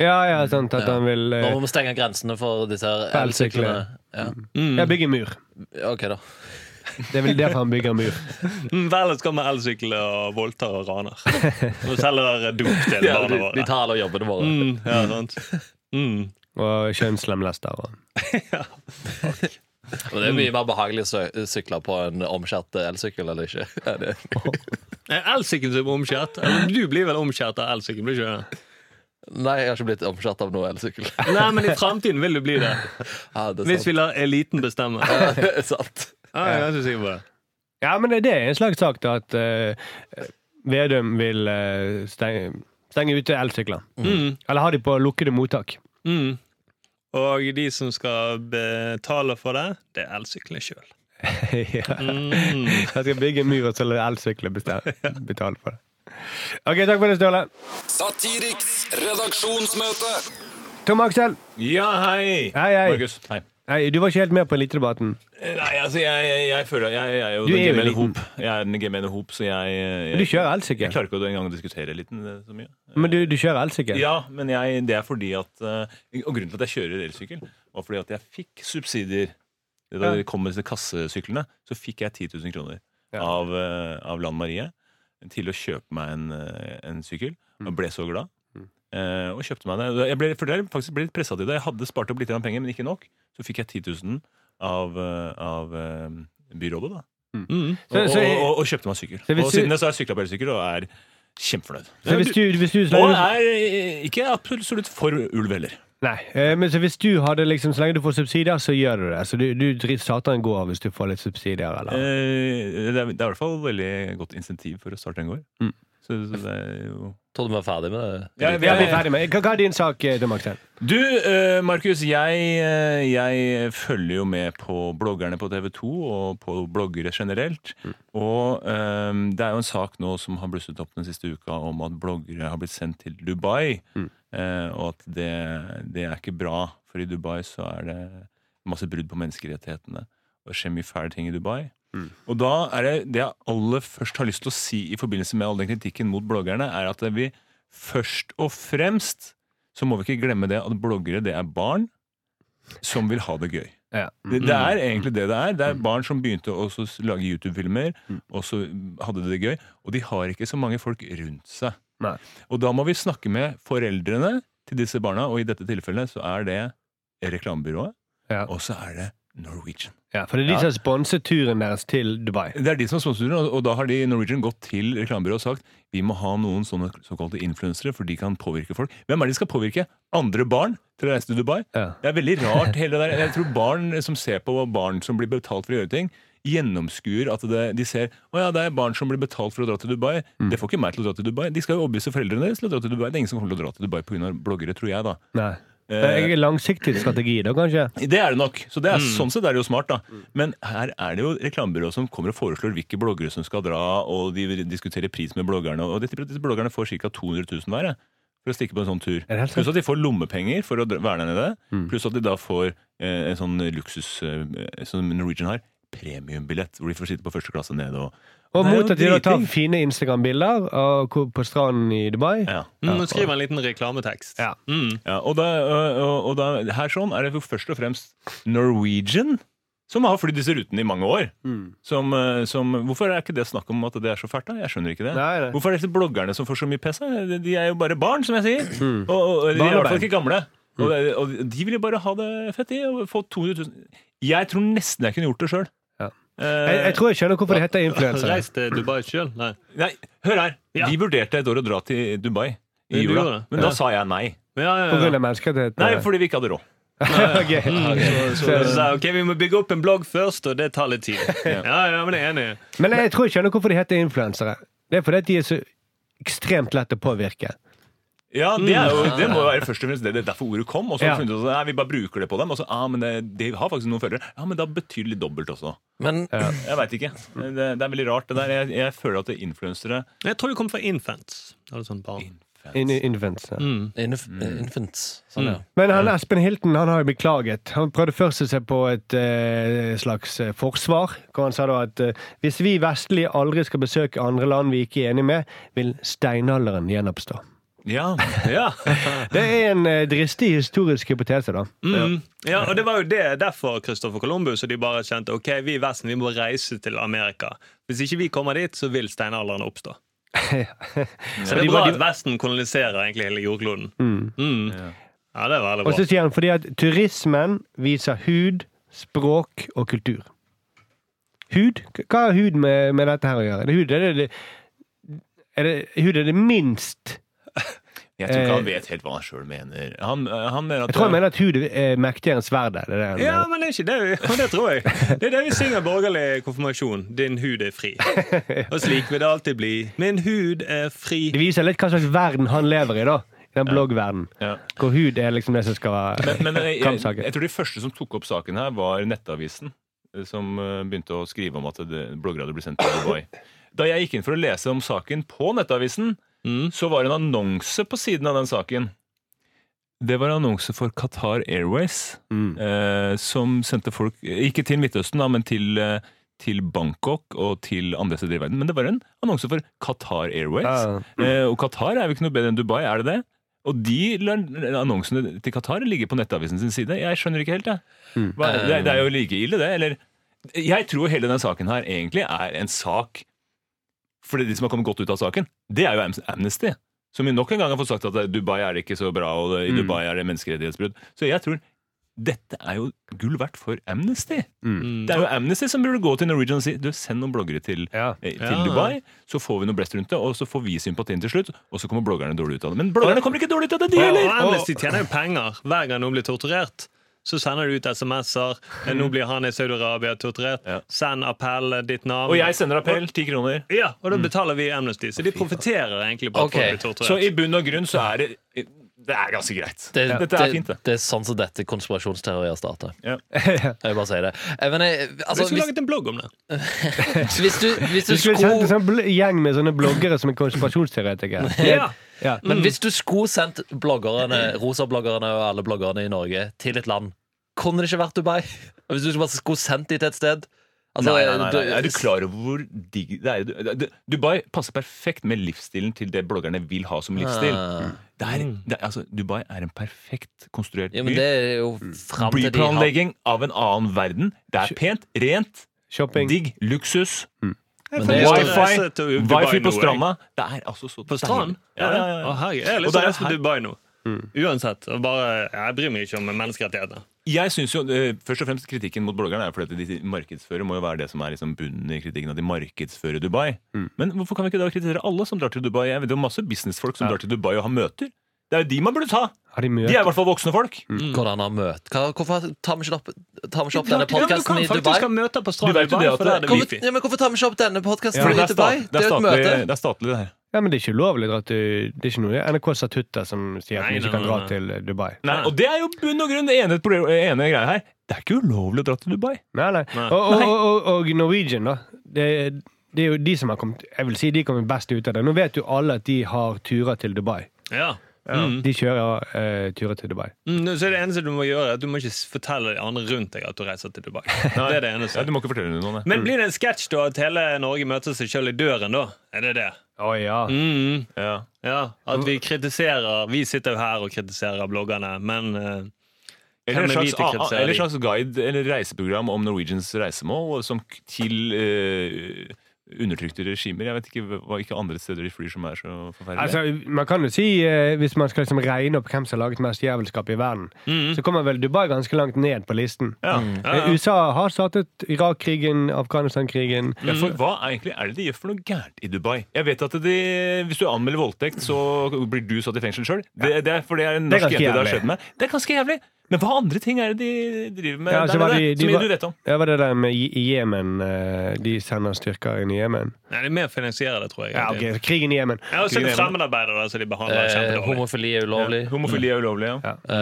Speaker 2: Ja, ja, sant at
Speaker 5: Ja.
Speaker 2: han vil
Speaker 5: Nå
Speaker 2: eh,
Speaker 5: må vi stenge grensene for disse her
Speaker 2: For
Speaker 5: elsyklene.
Speaker 2: elsyklene.
Speaker 5: Ja.
Speaker 2: Ja,
Speaker 3: Mm.
Speaker 2: bygge en mur.
Speaker 5: OK, da.
Speaker 2: Det er vel derfor han bygger en mur.
Speaker 3: Mm, Vel, så kommer elsykler og voldtar og raner. Og selger dop til
Speaker 5: Ja, de,
Speaker 3: barna
Speaker 5: de
Speaker 3: våre.
Speaker 5: tar alle jobbene våre.
Speaker 3: Mm, ja, sant. Mm.
Speaker 2: Og kjønnslemlester og
Speaker 5: Og det er mye mer behagelig å sø- sykle på en omskjært eh, elsykkel, eller ikke? Er det-
Speaker 3: Er elsykkelen som er omskjært? Eller, Du blir vel omskjært av elsykkelen? blir du ikke det?
Speaker 5: Nei, jeg har ikke blitt omskjært av noe elsykkel.
Speaker 3: Nei, men i framtiden vil du bli det.
Speaker 5: Ja, det er
Speaker 3: Hvis
Speaker 5: sant.
Speaker 3: vi lar eliten bestemme.
Speaker 5: Ja,
Speaker 3: Ja,
Speaker 5: det er sant.
Speaker 3: jeg er ganske sikker på det.
Speaker 2: Ja, men det, det er en slags sak da, at eh, Vedum vil eh, stenge, stenge ute elsykler.
Speaker 3: Mm,
Speaker 2: Eller ha de på lukkede mottak.
Speaker 3: mm. Og de som skal betale for det, det er elsyklene sjøl.
Speaker 2: ja.
Speaker 3: Mm.
Speaker 2: Jeg skal bygge en mur og så la elsykler besta- betale for det. Ok, takk for det, Ståle.
Speaker 4: Satiriks redaksjonsmøte.
Speaker 2: Tom Aksel.
Speaker 6: Ja, hei!
Speaker 2: Hei, hei.
Speaker 6: Markus. Hei.
Speaker 2: Nei, du var ikke helt med på elitedebatten.
Speaker 6: Nei, altså, jeg, jeg, jeg føler Jeg, jeg er jo
Speaker 2: Du
Speaker 6: den
Speaker 2: er jo
Speaker 6: gemene
Speaker 2: eliten.
Speaker 6: hop. Jeg er den gemene hop, så jeg, jeg
Speaker 2: Men du kjører elsykkel.
Speaker 6: Jeg klarer ikke å engang å diskutere eliten eh, så mye.
Speaker 2: Men du, du kjører elsykkel?
Speaker 6: Ja, men jeg, det er fordi at eh, Og grunnen til at jeg kjører elsykkel, var fordi at jeg fikk subsidier. Da
Speaker 2: Ja.
Speaker 6: det kom med disse kassesyklene, så fikk jeg 10 000 kroner
Speaker 2: Ja.
Speaker 6: av, eh, av Lan Marie til å kjøpe meg en, eh, en sykkel.
Speaker 2: Mm.
Speaker 6: Og ble så glad. Eh, og kjøpte meg det. Jeg ble, for det er faktisk ble litt pressa til det. Jeg hadde spart opp litt grann penger, men ikke nok. Så fikk jeg 10 000 av, eh, av eh, byrådet, da.
Speaker 2: Mm.
Speaker 6: Og,
Speaker 2: Så, så,
Speaker 6: og, og, og kjøpte meg sykkel.
Speaker 2: Så hvis
Speaker 6: og
Speaker 2: du-
Speaker 6: siden det så har jeg sykla på elsykkel og er kjempefornøyd.
Speaker 2: så hvis du, hvis du, så
Speaker 6: Og
Speaker 2: lenge du
Speaker 6: er eh, ikke absolutt for ulv heller.
Speaker 2: Nei, eh, men så hvis du hadde liksom Så lenge du får subsidier, så gjør du det. Så du, du driter satan går hvis du får litt subsidier, eller?
Speaker 6: Eh, Det er, det er i hvert fall veldig godt insentiv for å starte en gård.
Speaker 2: Mm.
Speaker 6: Så, så det er jo
Speaker 5: Tror du vi var ferdig med det?
Speaker 6: Ja,
Speaker 2: Vi er ferdig med Hva hva er din sak, eh, Tom Axel?
Speaker 6: Du, eh, Markus, jeg, eh, jeg følger jo med på bloggerne på TV 2 og på bloggere generelt. Og eh, det er jo en sak nå som har blusset opp den siste uka om at bloggere har blitt sendt til Dubai. eh, og at det, det er ikke bra, for i Dubai så er det masse brudd på menneskerettighetene. Og det skjer mye fæle ting i Dubai. Og da er det det jeg aller først har lyst til å si i forbindelse med all den kritikken mot bloggerne, er at vi først og fremst så må vi ikke glemme det at bloggere det er barn som vil ha det gøy.
Speaker 2: Ja.
Speaker 6: Det, det
Speaker 2: Mm.
Speaker 6: er egentlig det det er. Det er barn som begynte å også s- lage YouTube-filmer,
Speaker 2: Mm.
Speaker 6: og så hadde de det gøy. Og de har ikke så mange folk rundt seg.
Speaker 2: Nei.
Speaker 6: Og da må vi snakke med foreldrene til disse barna, og i dette tilfellet så er det reklamebyrået,
Speaker 2: Ja.
Speaker 6: og så er det Norwegian.
Speaker 2: Ja, for det er de
Speaker 6: Ja.
Speaker 2: som har sponset turen deres til Dubai.
Speaker 6: Det er de som er sponsorer, og- og da har de Norwegian gått til reklamebyrået og sagt vi må ha noen sånne såkalte influensere, for de kan påvirke folk. Hvem er det de skal påvirke? Andre barn til å reise til Dubai?
Speaker 2: Ja.
Speaker 6: Det er veldig rart, hele det der. Jeg tror barn som ser på barn som blir betalt for å gjøre ting, gjennomskuer at det, de ser å ja, det er barn som blir betalt for å dra til Dubai. Det får ikke meg til å dra til Dubai. De skal jo overbevise foreldrene deres til å dra til Dubai. Det er ingen som kommer til å dra til Dubai pga. bloggere, tror jeg, da.
Speaker 2: Nei. Det
Speaker 6: Eh,
Speaker 2: er en langsiktig strategi, da, kanskje?
Speaker 6: det er det nok. Så det er, Sånn sett er det jo smart. da. Men her er det jo reklamebyrået som kommer og foreslår hvilke bloggere som skal dra, og de diskuterer pris med bloggerne. Og dette- disse bloggerne får ca. 200 000 hver jeg, for å stikke på en sånn tur.
Speaker 2: Er det helt sant? Mm.
Speaker 6: Pluss at de får lommepenger for å dra- være der nede. Pluss at de da får eh, en sånn luksus eh, som Norwegian har, premiumbillett, hvor de får sitte på første klasse nede og
Speaker 2: Og
Speaker 6: Det er jo
Speaker 2: mot at de da tar
Speaker 6: driting.
Speaker 2: fine Instagram-bilder av hvor- på stranden i Dubai.
Speaker 6: ja.
Speaker 3: Mm, skriv en liten reklametekst.
Speaker 2: Ja.
Speaker 3: Mm.
Speaker 6: Ja, og da, og, og- og da, her sånn er det jo først og fremst Norwegian som har flydd disse rutene i mange år.
Speaker 2: Mm.
Speaker 6: Som, eh, som, hvorfor er ikke det snakk om at det er så fælt? da? Jeg skjønner ikke det.
Speaker 2: Nei, nei.
Speaker 6: Hvorfor er det disse bloggerne som får så mye pess? da? De- De er jo bare barn, som jeg sier. Og, og,
Speaker 2: Mm. Barn
Speaker 6: de er i
Speaker 2: Mm. og
Speaker 6: hvert fall ikke gamle. Og, og de vil jo bare ha det fett, de. Og få 200 000. Jeg tror nesten jeg kunne gjort det Eh, sjøl.
Speaker 2: Ja. Jeg, jeg tror jeg skjønner hvorfor det heter influensere.
Speaker 3: Reis til Dubai sjøl. Nei.
Speaker 6: Nei, hør her.
Speaker 3: Ja.
Speaker 6: Vi vurderte et år å dra til Dubai i
Speaker 3: Du gjorde
Speaker 6: jula,
Speaker 3: det.
Speaker 6: men da sa jeg nei.
Speaker 3: Ja, ja,
Speaker 2: På grunn
Speaker 3: ja.
Speaker 2: av menneskerettigheter.
Speaker 6: Nei, Mm. fordi vi ikke hadde råd.
Speaker 2: Ok.
Speaker 3: Så, så, sa jeg, ok, Vi må bygge opp en blogg først, og det tar litt tid. Ja, ja, men jeg er enig.
Speaker 2: Men jeg tror jeg skjønner hvorfor de heter influensere. Det er fordi at de er så ekstremt lett å påvirke.
Speaker 6: Ja, det, er jo, det må jo være først og fremst det, det er derfor ordet kom. Og så
Speaker 2: Mm. Ja.
Speaker 6: har vi funnet ut at nei, vi bare bruker det på dem. Og så, ah, men det, det har faktisk noen følgere. Ja, men da betyr det litt dobbelt også.
Speaker 5: Men
Speaker 6: Jeg veit ikke. Det, det er veldig rart. det der. Jeg, jeg føler at det er influensere
Speaker 3: Jeg tror det kommer fra infants. Eller sånn barn.
Speaker 2: In influencer.
Speaker 5: inf infants Sånn, ja.
Speaker 2: Men han, Espen Hilton han har jo beklaget. Han prøvde først å se på et eh, slags eh, forsvar. Hvor han sa da at eh, hvis vi vestlige aldri skal besøke andre land vi ikke er enige med, vil steinalderen gjenoppstå.
Speaker 6: Ja. ja.
Speaker 2: Det er en eh, dristig historisk hypotese, da.
Speaker 3: Mm. Ja, og Det var jo det derfor Christopher Columbus og de bare kjente ok, vi i Vesten vi må reise til Amerika. Hvis ikke vi kommer dit, så vil steinalderen oppstå. Så det
Speaker 2: de
Speaker 3: er
Speaker 2: var-
Speaker 3: bra
Speaker 2: de-
Speaker 3: at Vesten koloniserer egentlig hele jordkloden. Mm. Ja, det er veldig
Speaker 2: Og så
Speaker 3: bra.
Speaker 2: sier han fordi at turismen viser hud, språk og kultur. Hud? K- Hva har hud med, med dette her å gjøre? Er det hud er det, det, er det, hud er det minst
Speaker 6: Jeg tror ikke han vet helt hva han sjøl mener. Han, han mener at
Speaker 2: Eh. Jeg tror han mener at hud er mektigere enn sverdet. Det er det han mener.
Speaker 3: Ja, men det er ikke det vi og Det tror jeg. Det er det vi synger borgerlig konfirmasjon. Din hud er fri. Og slik vil det alltid bli. Min hud er fri.
Speaker 2: Det viser litt hva slags verden han lever i, da. I den bloggverdenen.
Speaker 6: Ja.
Speaker 2: Hvor hud er liksom det som skal være
Speaker 6: Men, men jeg, jeg,
Speaker 2: kampsaken.
Speaker 6: jeg tror de første som tok opp saken her, var Nettavisen. eh, Som eh, begynte å skrive om at det- bloggere hadde blitt sendt til Dubai. Da jeg gikk inn for å lese om saken på Nettavisen, så var det en annonse på siden av den saken. Det var annonse for Qatar Airways,
Speaker 2: Mm.
Speaker 6: eh, som sendte folk Ikke til Midtøsten, da, men til, eh, til Bangkok og til andre steder i verden. Men det var en annonse for Qatar Airways.
Speaker 2: Ja.
Speaker 6: Eh, og Qatar er jo ikke noe bedre enn Dubai, er det det? Og de lar annonsene til Qatar ligge på nettavisen sin side. Jeg skjønner ikke helt, jeg. Hva er det? Det, er- det er jo
Speaker 3: Eh.
Speaker 6: like ille, det. Eller Jeg tror hele denne saken her egentlig er en sak for de som har kommet godt ut av saken. Det er jo Am- Amnesty. Som jo nok en gang har fått sagt at eh, Dubai er ikke så bra, og det-
Speaker 3: Mm.
Speaker 6: i Dubai er det menneskerettighetsbrudd. Så jeg tror dette er jo gull verdt for Amnesty.
Speaker 3: Mm.
Speaker 6: Det er jo Amnesty som burde gå til Norwegian og si du, send noen bloggere til,
Speaker 2: Ja.
Speaker 6: eh, til
Speaker 3: Ja.
Speaker 6: Dubai, så får vi noe blest rundt det, og så får vi sympatien til slutt, og så kommer bloggerne dårlig ut av det. Men bloggerne kommer ikke dårlig ut av det, de
Speaker 3: Og
Speaker 6: heller!
Speaker 3: Amnesty tjener jo penger. Hver gang noen blir torturert, så sender du ut SMS-er. Nå blir han i Saudi-Arabia torturert.
Speaker 6: Mm. Ja.
Speaker 3: Send appell, eh, ditt navn.
Speaker 6: Og jeg Mm. sender appell, ti kroner.
Speaker 3: Ja, og da betaler vi Amnesty. Så de profitterer egentlig på at
Speaker 5: Ok,
Speaker 3: folk blir
Speaker 6: Så
Speaker 3: torturert.
Speaker 6: i bunn og grunn så er det Det er ganske greit.
Speaker 5: Det,
Speaker 6: Dette er fint, det.
Speaker 5: det er sånn som dette konspirasjonsteorier starter.
Speaker 6: Ja.
Speaker 5: Jeg vil bare si det. Eh, Men jeg,
Speaker 3: Vi
Speaker 5: altså,
Speaker 3: skulle
Speaker 5: hvis,
Speaker 3: laget en blogg om det.
Speaker 5: hvis du, hvis du
Speaker 2: Du skulle sendt en
Speaker 5: skulle
Speaker 2: sånn bl- gjeng med sånne bloggere som er konspirasjonsteoretikere.
Speaker 3: Ja.
Speaker 2: Ja.
Speaker 3: Mm.
Speaker 5: Men hvis du skulle sendt bloggerne, rosabloggerne og alle bloggerne i Norge til et land, kunne det ikke vært Dubai? Og Hvis du bare skulle sendt dem til et sted altså,
Speaker 6: Nei, nei, nei, nei.
Speaker 5: du-
Speaker 6: Er du klar over hvor digg det er? jo- det- Dubai passer perfekt med livsstilen til det bloggerne vil ha som livsstil.
Speaker 5: Ah.
Speaker 6: Det er, det er, altså, Dubai er en perfekt konstruert
Speaker 5: Ja, men det
Speaker 6: by.
Speaker 5: er jo
Speaker 6: Mm.
Speaker 5: fram til de har
Speaker 6: Byplanlegging av en annen verden. Det er pent, rent,
Speaker 2: Shopping.
Speaker 6: digg, luksus.
Speaker 5: Mm.
Speaker 3: Jeg får
Speaker 5: det-
Speaker 3: lyst til å
Speaker 6: Wifi,
Speaker 3: reise til Dubai
Speaker 6: wifi
Speaker 3: nå,
Speaker 6: på
Speaker 3: jeg.
Speaker 6: stranda. Det er altså så
Speaker 3: På stranden?
Speaker 6: Ja, ja, ja,
Speaker 3: Å,
Speaker 6: ja.
Speaker 3: herregud. Jeg har
Speaker 6: Og
Speaker 3: lyst til
Speaker 6: det
Speaker 3: å
Speaker 6: er
Speaker 3: reise til
Speaker 6: her- Mm.
Speaker 3: Dubai nå. Uansett. og Bare, jeg bryr meg ikke om menneskerettighetene.
Speaker 6: Jeg synes jo, eh, Først og fremst kritikken mot bloggerne er fordi at de markedsfører må jo være det som er liksom bunnen i kritikken. At de markedsfører Dubai. Men hvorfor kan vi ikke da kritisere alle som drar til Dubai? Jeg vet jo masse businessfolk som drar til Dubai og har møter. Det er jo de man burde ta!
Speaker 2: Har de
Speaker 6: De er
Speaker 2: møte?
Speaker 6: i hvert fall voksne folk.
Speaker 5: Går det an å møte Hva- Hvorfor tar vi ikke opp, tar vi ikke opp
Speaker 3: Ja,
Speaker 5: denne
Speaker 3: men
Speaker 5: podkasten i
Speaker 3: Du kan faktisk
Speaker 5: Dubai?
Speaker 3: ha møter på
Speaker 6: Du
Speaker 3: stranden i
Speaker 6: vet jo
Speaker 3: Dubai,
Speaker 6: det at
Speaker 3: for der er det
Speaker 5: Hvorfor,
Speaker 3: wifi.
Speaker 5: ja, men hvorfor tar vi ikke opp denne podkasten
Speaker 6: For
Speaker 5: i Dubai?
Speaker 6: stat-
Speaker 5: Det er jo et
Speaker 6: statlig,
Speaker 5: møte.
Speaker 6: det er statlig, det her.
Speaker 2: Ja, men det er ikke ulovlig at du Det er ikke noe NRK Satutter som sier at
Speaker 3: Nei,
Speaker 2: du ikke
Speaker 3: nei,
Speaker 2: kan
Speaker 3: nei,
Speaker 2: dra
Speaker 3: nei.
Speaker 2: til eh, Dubai.
Speaker 6: Nei, og det er jo bunn og grunn det ene, proble- ene greia her. Det er ikke ulovlig å dra til Dubai.
Speaker 2: Nei, nei.
Speaker 3: Nei.
Speaker 2: Og, og, og, og, og Norwegian, da. Det, det er jo de som har kommet Jeg vil si de kommer best ut av det. Nå vet jo alle at de har turer til Dubai.
Speaker 3: Ja. Mm.
Speaker 2: De kjører eh, turer til Dubai.
Speaker 3: Mm, så det eneste du må gjøre, er at du må ikke s- fortelle de andre rundt deg at du reiser til Dubai. Det er det
Speaker 6: Ja, Mm.
Speaker 3: eneste.
Speaker 6: du må ikke fortelle noe om det.
Speaker 3: Men blir det en sketsj da at hele Norge møter seg sjøl i døren, da? Er det det?
Speaker 2: Å ja.
Speaker 3: Mm.
Speaker 6: Ja.
Speaker 3: Ja, at vi kritiserer Vi sitter jo her og kritiserer bloggerne, men eh,
Speaker 6: Eller en
Speaker 3: Hvem er vi
Speaker 6: slags,
Speaker 3: til å kritisere
Speaker 6: eller
Speaker 3: de?
Speaker 6: slags guide eller reiseprogram om Norwegians reisemål og som k- til eh, undertrykte regimer. Jeg vet ikke hva ikke andre steder de flyr som er så forferdelige.
Speaker 2: Altså, man kan jo si, eh, hvis man skal liksom regne opp hvem som har laget mest jævelskap i verden, så kommer vel Dubai ganske langt ned på listen.
Speaker 6: ja.
Speaker 3: ja,
Speaker 2: Eh,
Speaker 3: ja.
Speaker 2: USA har startet Irak-krigen, Afghanistan-krigen.
Speaker 6: Ja, for hva er egentlig er det de gjør for noe gærent i Dubai? Jeg vet at de, Hvis du anmelder voldtekt, så blir du satt i fengsel sjøl. Det, det er for det er en
Speaker 2: Det er
Speaker 6: norsk
Speaker 2: ganske
Speaker 6: jente det har
Speaker 2: jævlig.
Speaker 6: skjedd med. Det er ganske jævlig! Men hva andre ting er det de driver med
Speaker 2: Ja, så
Speaker 6: der
Speaker 2: var
Speaker 6: nede?
Speaker 2: de- de
Speaker 6: som
Speaker 2: var-
Speaker 6: du vet om?
Speaker 2: Det var det der med Je- Jemen. eh, De sender styrker inn i Jemen.
Speaker 3: Nei, det er mer finansiere det, tror jeg.
Speaker 2: Ja, ok, krigen i Jemen.
Speaker 3: Ja, og så er det fremmedarbeidere som de behandler
Speaker 5: Eh,
Speaker 3: kjempedårlig.
Speaker 5: homofili er ulovlig.
Speaker 6: Homofili er ulovlig, ja.
Speaker 2: Ja.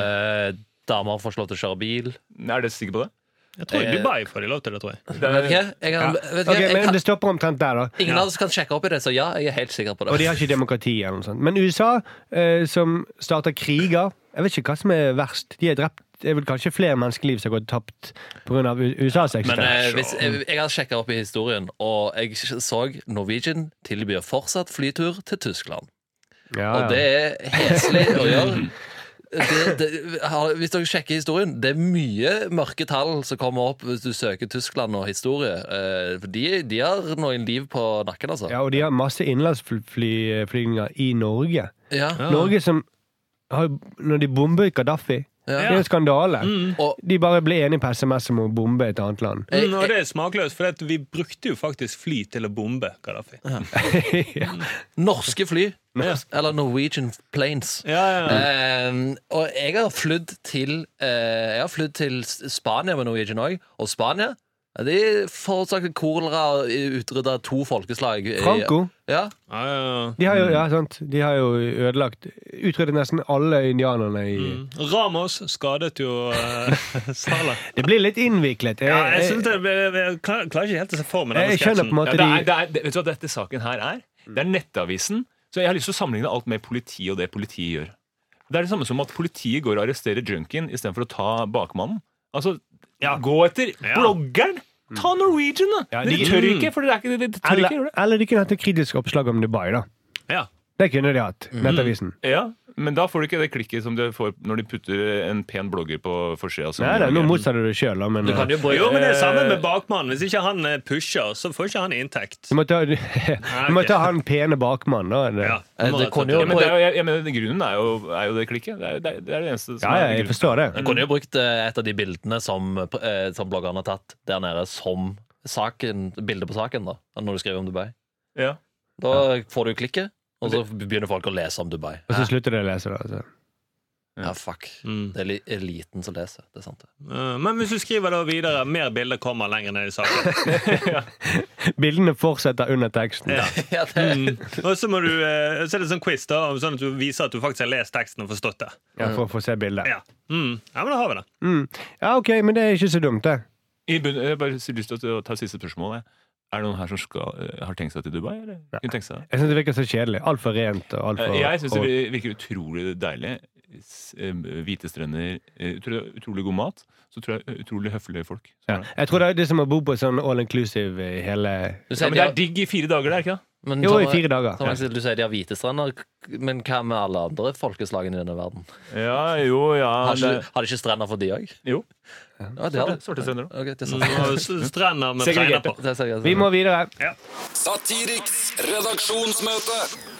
Speaker 5: Eh, damer får ikke lov til å kjøre bil.
Speaker 6: Er dere sikre på det?
Speaker 3: Jeg tror i
Speaker 5: Eh,
Speaker 3: Dubai får de lov til det, tror jeg.
Speaker 5: Vet ikke, jeg kan, vet ikke,
Speaker 2: Ok,
Speaker 5: jeg
Speaker 2: men
Speaker 5: kan,
Speaker 2: det stopper omtrent der, da.
Speaker 5: ingen av oss kan sjekke opp i det, så ja, jeg er helt sikker på
Speaker 2: Og de
Speaker 5: det.
Speaker 2: har ikke demokrati eller noe sånt. Men USA, eh, som starter kriger Jeg vet ikke hva som er verst. De har drept Det er vel kanskje flere menneskeliv som har gått tapt pga. USAs
Speaker 5: Men
Speaker 2: eksistens.
Speaker 5: eh, hvis, jeg, jeg har sjekka opp i historien, og jeg så Norwegian tilbyr fortsatt flytur til Tyskland.
Speaker 2: Ah, Ja,
Speaker 5: Og det
Speaker 2: ja.
Speaker 5: er heslig å gjøre. Det, det, har- hvis dere sjekker historien, det er mye mørke tall som kommer opp hvis du søker Tyskland og historie. Eh, for de, de har noen liv på nakken, altså.
Speaker 2: ja, og de har masse innenlandsflygninger i Norge.
Speaker 5: Ja.
Speaker 2: Norge som har, Når de bomber Gaddafi Det er jo en skandale.
Speaker 5: Og eh,
Speaker 2: De bare ble enige på SMS om å bombe et annet land.
Speaker 5: jeg,
Speaker 3: Mm, og det er smakløst, for at vi brukte jo faktisk fly til å bombe Gaddafi.
Speaker 2: ja.
Speaker 5: Norske fly. Eller Norwegian planes.
Speaker 3: Ja, ja,
Speaker 5: Eh, og jeg har flydd til eh, Jeg har flydd til S- Spania med Norwegian òg, og Spania de forårsaket kolera og utrydda to folkeslag. i-
Speaker 2: Franco.
Speaker 5: Ja,
Speaker 6: Mm.
Speaker 3: ja, ja.
Speaker 2: De har jo, ja, sant. De har jo ødelagt Utryddet nesten alle indianerne i
Speaker 3: Mm. Ramos skadet jo uh, Salah.
Speaker 2: Det blir litt innviklet. Eh, Jeg,
Speaker 3: Ja,
Speaker 5: Eh,
Speaker 3: jeg,
Speaker 2: jeg,
Speaker 3: synes det, jeg, jeg klarer klarer ikke helt å se for meg denne
Speaker 2: jeg skjønner på en
Speaker 3: sketsjen.
Speaker 6: Ja,
Speaker 2: måte
Speaker 6: det er,
Speaker 2: de
Speaker 6: det er, det, vet du hva dette Mm. saken her er? Det er Nettavisen. Så jeg har lyst til å sammenligne alt med politiet og det politiet gjør. Det er det samme som at politiet går og arresterer junkien istedenfor å ta bakmannen. Altså, gå etter bloggeren! Ta Norwegian, da!
Speaker 2: Ja, de-
Speaker 6: dere tør ikke, for dere er ikke, dere tør ikke
Speaker 2: eh, Eller,
Speaker 6: gjøre det.
Speaker 2: eller de kunne hatt et kritisk oppslag om Dubai, da.
Speaker 3: Ja.
Speaker 2: Det kunne de hatt. Nettavisen.
Speaker 6: Ja, men da får du ikke det klikket som du får når de putter en pen blogger på forsida. som-
Speaker 2: Nei, nei, nå motsa du det sjøl, da, men eh,
Speaker 5: Du kan jo bruke Eh-
Speaker 3: Jo, men det er samme med bakmannen. Hvis ikke han eh, pusher, så får ikke han inntekt.
Speaker 2: Du må ta, du må ta han pene bakmannen, da. Det.
Speaker 3: Ja,
Speaker 5: Eh, det kunne jo-
Speaker 6: Ja, men det er jo, jeg, jeg mener, Grunnen er jo, er jo det klikket. Det er, det er, det er det eneste som
Speaker 2: Ja, ja,
Speaker 6: er
Speaker 2: jeg
Speaker 6: grunnen.
Speaker 2: forstår det.
Speaker 5: Jeg kunne jo brukt eh, et av de bildene som, eh, som bloggerne har tatt der nede, som saken, bildet på saken, da, når du skriver om Dubai.
Speaker 6: Ja.
Speaker 5: Da får du klikket, og så begynner folk å lese om Dubai.
Speaker 2: Og så slutter de å lese, da. Altså.
Speaker 5: Ja, fuck.
Speaker 3: Mm.
Speaker 5: Det er li- eliten som leser. Det er sant. det.
Speaker 3: Eh, Men hvis du skriver da videre, mer bilder kommer lenger ned i saken.
Speaker 2: Bildene fortsetter under teksten.
Speaker 3: Ja.
Speaker 5: Ja, det,
Speaker 3: Mm. Og så må du, eh, så er det sånn quiz, da, om sånn at du viser at du faktisk har lest teksten og forstått det.
Speaker 2: Ja, for å få se bildet.
Speaker 3: Ja, mm. ja men da har vi det.
Speaker 2: Mm. Ja, OK, men det er ikke så dumt, det.
Speaker 6: I bunn, jeg har bare lyst til å ta et siste spørsmål. Jeg. Er det noen her som skal, eh, har tenkt seg til Dubai? Eller? Kunne tenkt seg det?
Speaker 2: Jeg syns det virker så kjedelig. Altfor rent og
Speaker 6: Eh,
Speaker 2: altfor
Speaker 6: Jeg syns
Speaker 2: og-
Speaker 6: det virker utrolig deilig. S- eh, Hvite strender, eh, utro- utrolig god mat. Så tror jeg eh, utrolig høflige folk.
Speaker 2: ja.
Speaker 6: Ja.
Speaker 2: Jeg tror det er det som å bo på sånn all inclusive i hele
Speaker 5: du sier
Speaker 6: Men det
Speaker 5: de
Speaker 6: er
Speaker 5: har,
Speaker 6: digg i fire dager, det er ikke det?
Speaker 5: men,
Speaker 2: Jo, i
Speaker 5: Thomas-
Speaker 2: fire dager.
Speaker 5: Thomas, du sier de har hvite strender, men hva med alle andre folkeslagene i denne verden?
Speaker 6: Ja, jo, ja.
Speaker 5: Har, ikke, har de ikke strender for de òg?
Speaker 6: Jo.
Speaker 5: Ja, det har
Speaker 6: Sorte,
Speaker 5: de.
Speaker 6: sorte strender òg.
Speaker 5: Ok, det er sant.
Speaker 3: Mm, Og s- strender med
Speaker 6: Segregerte.
Speaker 3: penger på.
Speaker 5: Det er sant.
Speaker 2: Vi må videre.
Speaker 4: Satiriks redaksjonsmøte.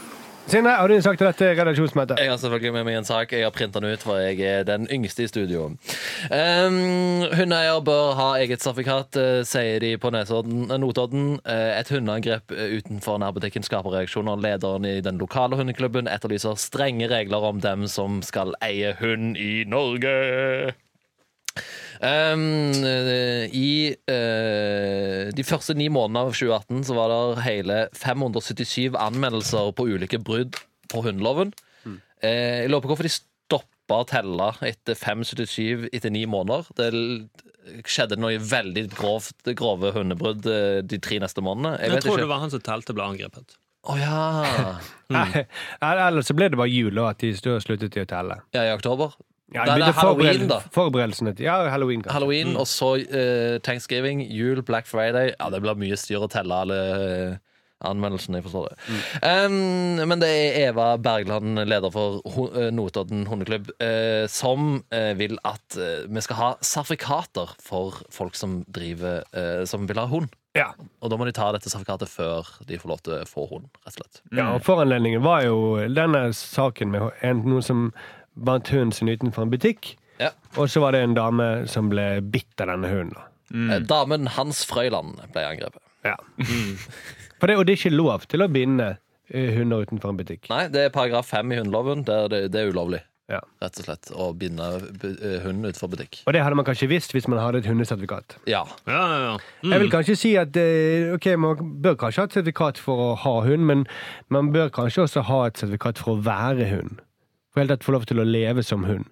Speaker 2: Sindre, har du en sak til dette redaksjonsmøtet?
Speaker 5: Jeg har selvfølgelig med meg en sak. Jeg har printa den ut, for jeg er den yngste i studio. Um, hundeeier bør ha eget sertifikat, eh, sier de på Nesodden, eh, Notodden. Eh, et hundeangrep eh, utenfor nærbutikken skaper reaksjoner. Lederen i den lokale hundeklubben etterlyser strenge regler om dem som skal eie hund i Norge. Um, eh, I eh, de første ni månedene av 2018 så var det hele 577 anmeldelser på ulike brudd på hundeloven. Eh, jeg lurer på hvorfor de stoppa å telle etter 577 etter ni måneder. Det l- skjedde noe veldig grovt, grove hundebrudd eh, de tre neste månedene. Jeg
Speaker 3: Jeg
Speaker 5: vet
Speaker 3: tror det
Speaker 5: ikke.
Speaker 3: var han som telte ble angrepet.
Speaker 5: Å ja.
Speaker 2: Nei,
Speaker 5: mm.
Speaker 2: Ellers så ble det bare jul, og at de stod og sluttet i å telle.
Speaker 5: ja! I oktober.
Speaker 2: Ja,
Speaker 5: Nei,
Speaker 2: de
Speaker 5: det er
Speaker 2: begynte
Speaker 5: halloween,
Speaker 2: forbered-
Speaker 5: da.
Speaker 2: Forberedelsene til Ja, halloween. kanskje.
Speaker 5: Halloween, og så eh, Thanksgiving, jul, Black Friday. Ja, det blir mye styr å telle alle eh, anmeldelsene, jeg forstår det. Um, men det er Eva Bergland, leder for Ho- eh, Notodden hundeklubb, eh, som eh, vil at eh, vi skal ha sertifikater for folk som driver eh, Som vil ha hund.
Speaker 2: Ja.
Speaker 5: Og da må de ta dette sertifikatet før de får lov til å få hund, rett og slett.
Speaker 2: Ja, og foranledningen var jo denne saken med en, noen som bandt hunden sin utenfor en butikk.
Speaker 5: Ja.
Speaker 2: Og så var det en dame som ble bitt av denne hunden. da.
Speaker 5: Eh, Damen Hans Frøyland ble angrepet.
Speaker 2: Ja.
Speaker 3: Mm.
Speaker 2: For det, og det er ikke lov til å binde eh, hunder utenfor en butikk.
Speaker 5: Nei, det er paragraf fem i hundeloven. Der det, det er ulovlig,
Speaker 2: Ja.
Speaker 5: rett og slett, å binde bu- eh, hunden utenfor butikk.
Speaker 2: Og det hadde man kanskje visst hvis man hadde et hundesertifikat.
Speaker 5: Ja.
Speaker 3: Ja, ja, ja. Mm.
Speaker 2: Jeg vil kanskje si at eh, ok, man bør kanskje ha et sertifikat for å ha hund, men man bør kanskje også ha et sertifikat for å være hund. For helt tatt få lov til å leve som hund.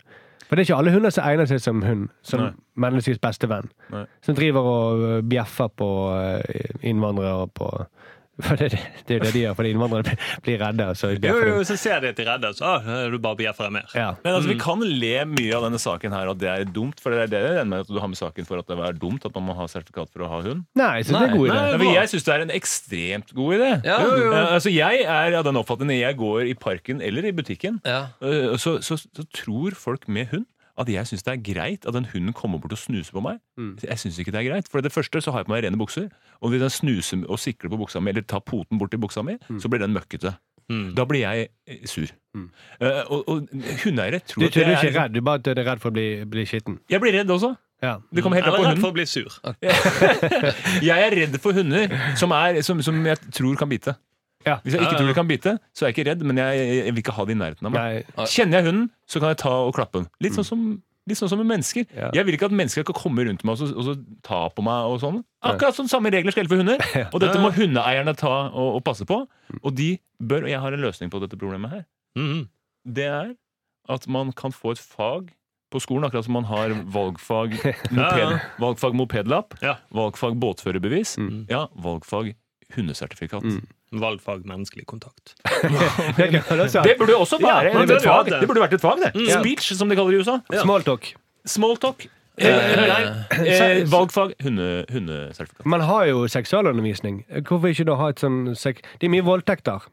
Speaker 2: For det er ikke alle hunder som egner seg som hund, som
Speaker 6: Nei.
Speaker 2: menneskets beste venn.
Speaker 6: Nei.
Speaker 2: Som driver og eh, bjeffer på eh, innvandrere og på For det, det er jo det de gjør, fordi innvandrere blir redde, og så
Speaker 3: Jo,
Speaker 2: bjeffer
Speaker 3: jo,
Speaker 2: de.
Speaker 3: så ser de at de er redde. Så, ah, du bare bjeffer mer.
Speaker 2: Ja.
Speaker 6: Men altså, Vi kan le mye av denne saken her, at det er dumt. For det er det jeg regner med at du har med saken for at det er dumt at man må ha sertifikat for å ha hund.
Speaker 2: Nei, så det er
Speaker 5: Nei.
Speaker 2: en god idé.
Speaker 6: Nei, men jeg syns det er en ekstremt god idé.
Speaker 5: Ja. Jo, jo.
Speaker 6: Eh, Altså, jeg er av den oppfatning når jeg går i parken eller i butikken,
Speaker 5: Ja.
Speaker 6: eh, så, så, så tror folk med hund at jeg syns det er greit at den hunden kommer bort og snuser på meg. Jeg synes ikke det er greit For det første så har jeg på meg rene bukser, og hvis den snuser og sikler på buksa mi, eller tar poten bort i buksa mi, så blir den møkkete.
Speaker 3: Mm.
Speaker 6: Da blir jeg eh, sur. Eh, og og hundeeiere
Speaker 2: Du,
Speaker 6: tror
Speaker 2: du er
Speaker 6: jeg
Speaker 2: ikke redd, du bare at du er redd for å bli, bli skitten.
Speaker 6: Jeg blir redd også.
Speaker 2: Ja.
Speaker 6: Det kommer helt
Speaker 3: Jeg
Speaker 6: an på
Speaker 3: var
Speaker 6: hunden.
Speaker 3: redd
Speaker 6: Ah.
Speaker 3: for å bli sur.
Speaker 6: Jeg er redd for hunder som, er, som, som jeg tror kan bite.
Speaker 2: Ja.
Speaker 6: Hvis jeg
Speaker 3: Ja,
Speaker 6: ikke
Speaker 3: ja.
Speaker 6: tror de kan bite, så er jeg ikke redd, men jeg, jeg vil ikke ha det i nærheten av meg.
Speaker 2: Nei.
Speaker 6: Kjenner jeg hunden, så kan jeg ta og klappe den. Litt
Speaker 3: Mm.
Speaker 6: sånn som, litt sånn som med mennesker.
Speaker 2: Ja.
Speaker 6: Jeg vil ikke at mennesker skal komme rundt meg og, så, og så ta på meg. og sånn. Akkurat som samme regler skal gjelde for hunder. Og dette må hundeeierne ta og, og passe på. Og de bør, og jeg har en løsning på dette problemet her.
Speaker 3: Mm.
Speaker 6: Det er at man kan få et fag på skolen, akkurat som man har valgfag, moped,
Speaker 3: Ja, ja.
Speaker 6: valgfag mopedlapp,
Speaker 3: Ja.
Speaker 6: valgfag båtførerbevis,
Speaker 2: Mm.
Speaker 6: ja, valgfag hundesertifikat.
Speaker 3: Mm. Valgfag menneskelig kontakt.
Speaker 2: Det Altså, kan man også ha.
Speaker 6: Det burde jo også være
Speaker 3: man
Speaker 6: et
Speaker 3: burde ha
Speaker 6: fag.
Speaker 3: det.
Speaker 6: Det burde vært et fag, det. Speech, som de kaller det i USA.
Speaker 2: Smalltalk.
Speaker 6: Smalltalk. Eh, nei, eh, valgfag. Hunde, hundesertifikat.
Speaker 2: Man har jo seksualundervisning. Hvorfor ikke da ha et sånn sek... Det er mye voldtekter.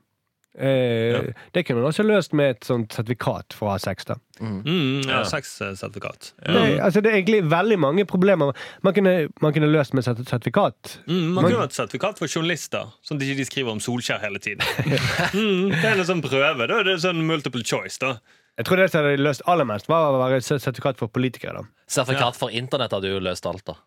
Speaker 2: Eh, Det kunne man også løst med et sånt sertifikat for å ha sex, da.
Speaker 3: Mm, ja, Sexsertifikat.
Speaker 2: Det, altså, det er egentlig veldig mange problemer man kunne, man kunne løst med sert- sertifikat.
Speaker 3: Mm, man kunne hatt sertifikat for journalister, sånn at de ikke skriver om Solskjær hele tiden. Mm, det er en sånn prøve. Da er det sånn multiple choice. da
Speaker 2: Jeg tror det som hadde løst aller mest, var å være ser- sertifikat for politikere, da.
Speaker 5: Sertifikat for internett hadde jo løst alt, da.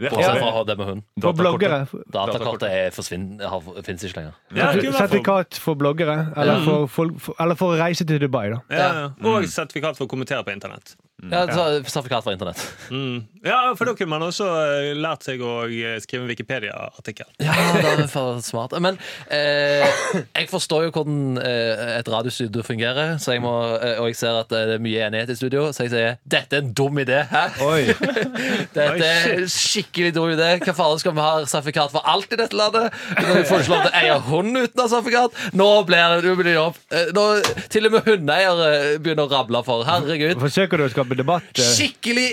Speaker 6: Det
Speaker 5: Bortsett
Speaker 6: har
Speaker 5: fra
Speaker 6: vi.
Speaker 5: å ha det med hund.
Speaker 2: For bloggere.
Speaker 5: Datakortet er forsvinn- har- finnes ikke lenger.
Speaker 3: Ja, det kunne vært for-
Speaker 2: Sertifikat for bloggere, eller for, folk- for, eller for å reise til Dubai, da.
Speaker 3: ja, ja. Og sertifikat for å kommentere på internett.
Speaker 5: Ja, så- sertifikat for internett.
Speaker 3: Mm. Ja, for da kunne man også eh, lært seg å eh, skrive en Wikipedia-artikkel.
Speaker 5: Ja, det er for smart. Men eh, jeg forstår jo hvordan eh, et radiostudio fungerer, så jeg må, eh, og jeg ser at det er mye enighet i studio, så jeg sier dette er en dum idé. Hæ?
Speaker 2: Oi.
Speaker 5: Dette er en skikkelig dum idé. Hva faen skal vi ha sertifikat for alt i dette landet? Vi får ikke lov til å eie hund uten å ha sertifikat. Nå blir det, nå blir det jobb. Eh, Nå, til og med hundeeiere eh, begynner å rable for. Herregud.
Speaker 2: Forsøker du å skape debatt? eh?
Speaker 5: Skikkelig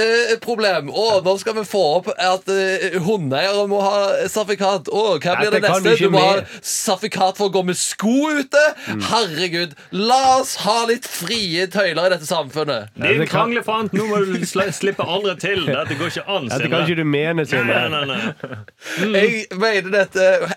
Speaker 5: eliteproblem. Å, nå skal vi få opp at uh, hundeeiere må ha sertifikat. Å, hva blir det
Speaker 2: Dette kan
Speaker 5: neste?
Speaker 2: vi ikke
Speaker 5: Du må ha
Speaker 2: mer. Mm.
Speaker 5: sertifikat for å gå med sko ute? Herregud, la oss ha litt frie tøyler i dette samfunnet.
Speaker 3: Din
Speaker 2: det kan-
Speaker 3: kranglefant, nå må du sl slippe aldri til! Dette går ikke an,
Speaker 2: Dette kan ikke du eh. mene,
Speaker 3: Nei,
Speaker 2: Simen.
Speaker 3: nei, nei.
Speaker 5: Jeg mener dette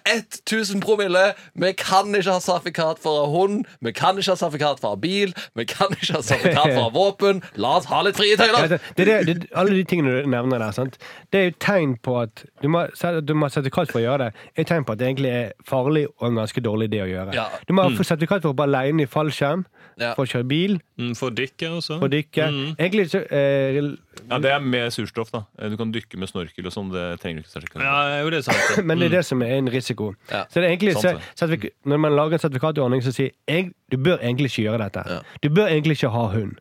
Speaker 5: 1000 promille. Vi kan ikke ha sertifikat for å ha hund. Vi kan ikke ha sertifikat for å ha bil. Vi kan ikke ha sertifikat for å ha våpen. La oss ha litt frie
Speaker 2: Ja, altså,
Speaker 5: tøyler.
Speaker 2: Det, det, er det, det, alle de tingene du nevner der, sant? det er jo tegn på at du må, selv at du må ha sertifikat for å gjøre det. er tegn på at det egentlig er farlig og en ganske dårlig idé å gjøre.
Speaker 5: Ja.
Speaker 2: Du må ha fått sertifikat for å hoppe alene i fallskjerm,
Speaker 5: Ja.
Speaker 2: for å kjøre bil,
Speaker 3: Mm, For dykke, altså.
Speaker 2: for å dykke. Egentlig så eh,
Speaker 6: Ja, det er med surstoff, da. Eh, Du kan dykke med snorkel og sånn. Det trenger du ikke sertifikat for.
Speaker 3: Ja, jo, det er sant. det.
Speaker 2: Men det er det som er en risiko.
Speaker 5: Ja.
Speaker 2: Så det er egentlig,
Speaker 6: Sant det.
Speaker 2: så- sertifik- Når man lager en sertifikatordning som sier jeg, du bør egentlig ikke gjøre dette.
Speaker 5: Ja.
Speaker 2: Du bør egentlig ikke ha hund.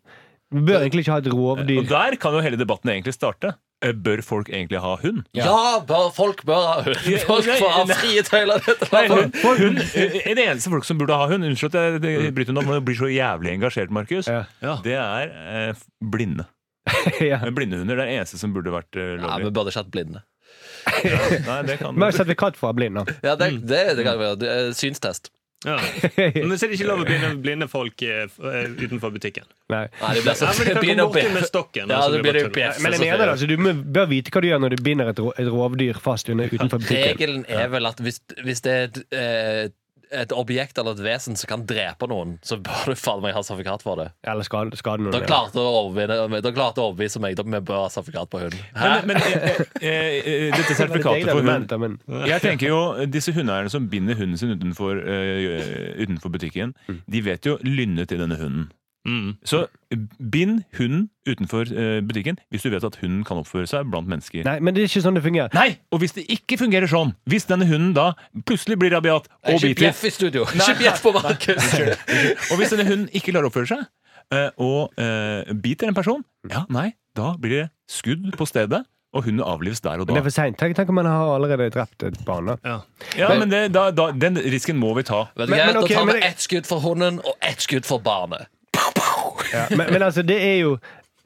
Speaker 2: Du bør egentlig ikke ha et
Speaker 6: Og
Speaker 2: rovdyr.
Speaker 6: der kan jo hele debatten egentlig starte. Eh, Bør folk egentlig ha hund?
Speaker 5: Ja, bør, folk bør ha hund. Folk
Speaker 6: nei,
Speaker 5: får ha
Speaker 6: nei.
Speaker 5: frie tøyler. i dette
Speaker 6: Nei,
Speaker 5: landet.
Speaker 6: hund, Altså, hund, eh, det eneste folk som burde ha hund Unnskyld at jeg jeg bryter noe, men jeg blir så jævlig engasjert, Markus.
Speaker 2: Ja.
Speaker 3: Ja.
Speaker 6: Det er eh, f- blinde.
Speaker 2: Ja.
Speaker 6: Men Blindehunder det er det eneste som burde vært eh,
Speaker 5: Ja,
Speaker 6: lovlig.
Speaker 5: Vi burde ikke hatt blinde.
Speaker 6: Nei, det kan
Speaker 2: Du må ha sertifikat for å være blind. da.
Speaker 5: Ja, det, det, Mm. det kan være det er Synstest.
Speaker 3: Ja. Men så er det ikke lov å blinde, blinde folk eh, f- eh, utenfor butikken.
Speaker 2: Nei.
Speaker 5: Nei, det blir
Speaker 3: Ja,
Speaker 5: så
Speaker 3: men de kan
Speaker 5: begynner
Speaker 3: komme
Speaker 5: å
Speaker 3: borti med
Speaker 5: bjeffe.
Speaker 3: stokken.
Speaker 5: Ja,
Speaker 3: og så
Speaker 5: det blir
Speaker 3: bare
Speaker 5: jo
Speaker 3: tull.
Speaker 5: bjeffe.
Speaker 2: Men jeg
Speaker 5: så
Speaker 2: mener det,
Speaker 5: får jeg-
Speaker 2: altså, du må- bør vite hva du gjør når du binder et, ro- et rovdyr fast under, utenfor butikken.
Speaker 5: Regelen er vel at hvis, hvis det er et, eh, et objekt eller et vesen som kan drepe noen, så bør du faen meg ha sertifikat for det.
Speaker 2: Eller skade, skade noen.
Speaker 5: Da klarte du å overbevise, da klarte du å overbevise meg. Da vi bør ha sertifikat på hund. Hæ?
Speaker 6: Men, men eh, eh, eh, dette
Speaker 2: Det er et eget
Speaker 6: sertifikatet for
Speaker 2: argument,
Speaker 6: hund
Speaker 2: da, men
Speaker 6: Jeg tenker jo, Disse hundeeierne som binder hunden sin utenfor, eh, utenfor butikken,
Speaker 2: Mm.
Speaker 6: de vet jo lynnet i denne hunden.
Speaker 3: Mm.
Speaker 6: Så bind hunden utenfor eh, butikken hvis du vet at hunden kan oppføre seg blant mennesker.
Speaker 2: Nei, men det er ikke sånn det fungerer.
Speaker 6: Nei! Og hvis det ikke fungerer sånn, hvis denne hunden da plutselig blir rabiat og
Speaker 5: Ikke
Speaker 6: biter
Speaker 5: bjeff i studio! Ikke bjeff på Markus!
Speaker 6: Og hvis denne hunden ikke klarer å oppføre seg, eh, og eh, biter en person, ja, nei, da blir det skudd på stedet, og hunden avlives der og
Speaker 2: Men det
Speaker 6: da.
Speaker 2: er for seint. Tenk, tenk om man har allerede drept et barn. da.
Speaker 3: Ja.
Speaker 6: Ja, men det, da, da, Den risken må vi ta.
Speaker 5: Vet du
Speaker 2: Men-
Speaker 5: hva,
Speaker 2: men
Speaker 5: Da
Speaker 2: ok,
Speaker 5: tar vi
Speaker 2: men jeg-
Speaker 5: ett skudd for hunden og ett skudd for barnet.
Speaker 2: Ja. Men, men altså, det er jo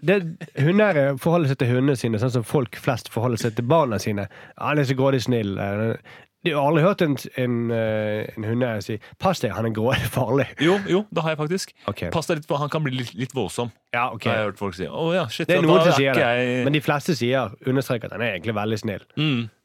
Speaker 2: det, Hundeeiere forholder seg til hundene sine sånn som folk flest forholder seg til barna sine. Ja, 'Han er så grådig snill.' eh, Du har aldri hørt en, en, eh, en hundeeier si 'pass deg, han er grådig farlig'.
Speaker 6: Jo, jo, det har jeg faktisk.
Speaker 2: Ok.
Speaker 6: Pass deg litt, for han kan bli litt, litt voldsom.
Speaker 2: Ja, ok.
Speaker 6: Det har jeg hørt folk si. Å ja, shit,
Speaker 2: Det
Speaker 6: ja,
Speaker 2: er noen
Speaker 6: da
Speaker 2: som sier det,
Speaker 6: ikke
Speaker 2: men
Speaker 6: jeg... Mm.
Speaker 2: de fleste sier understreker at han er egentlig veldig snill.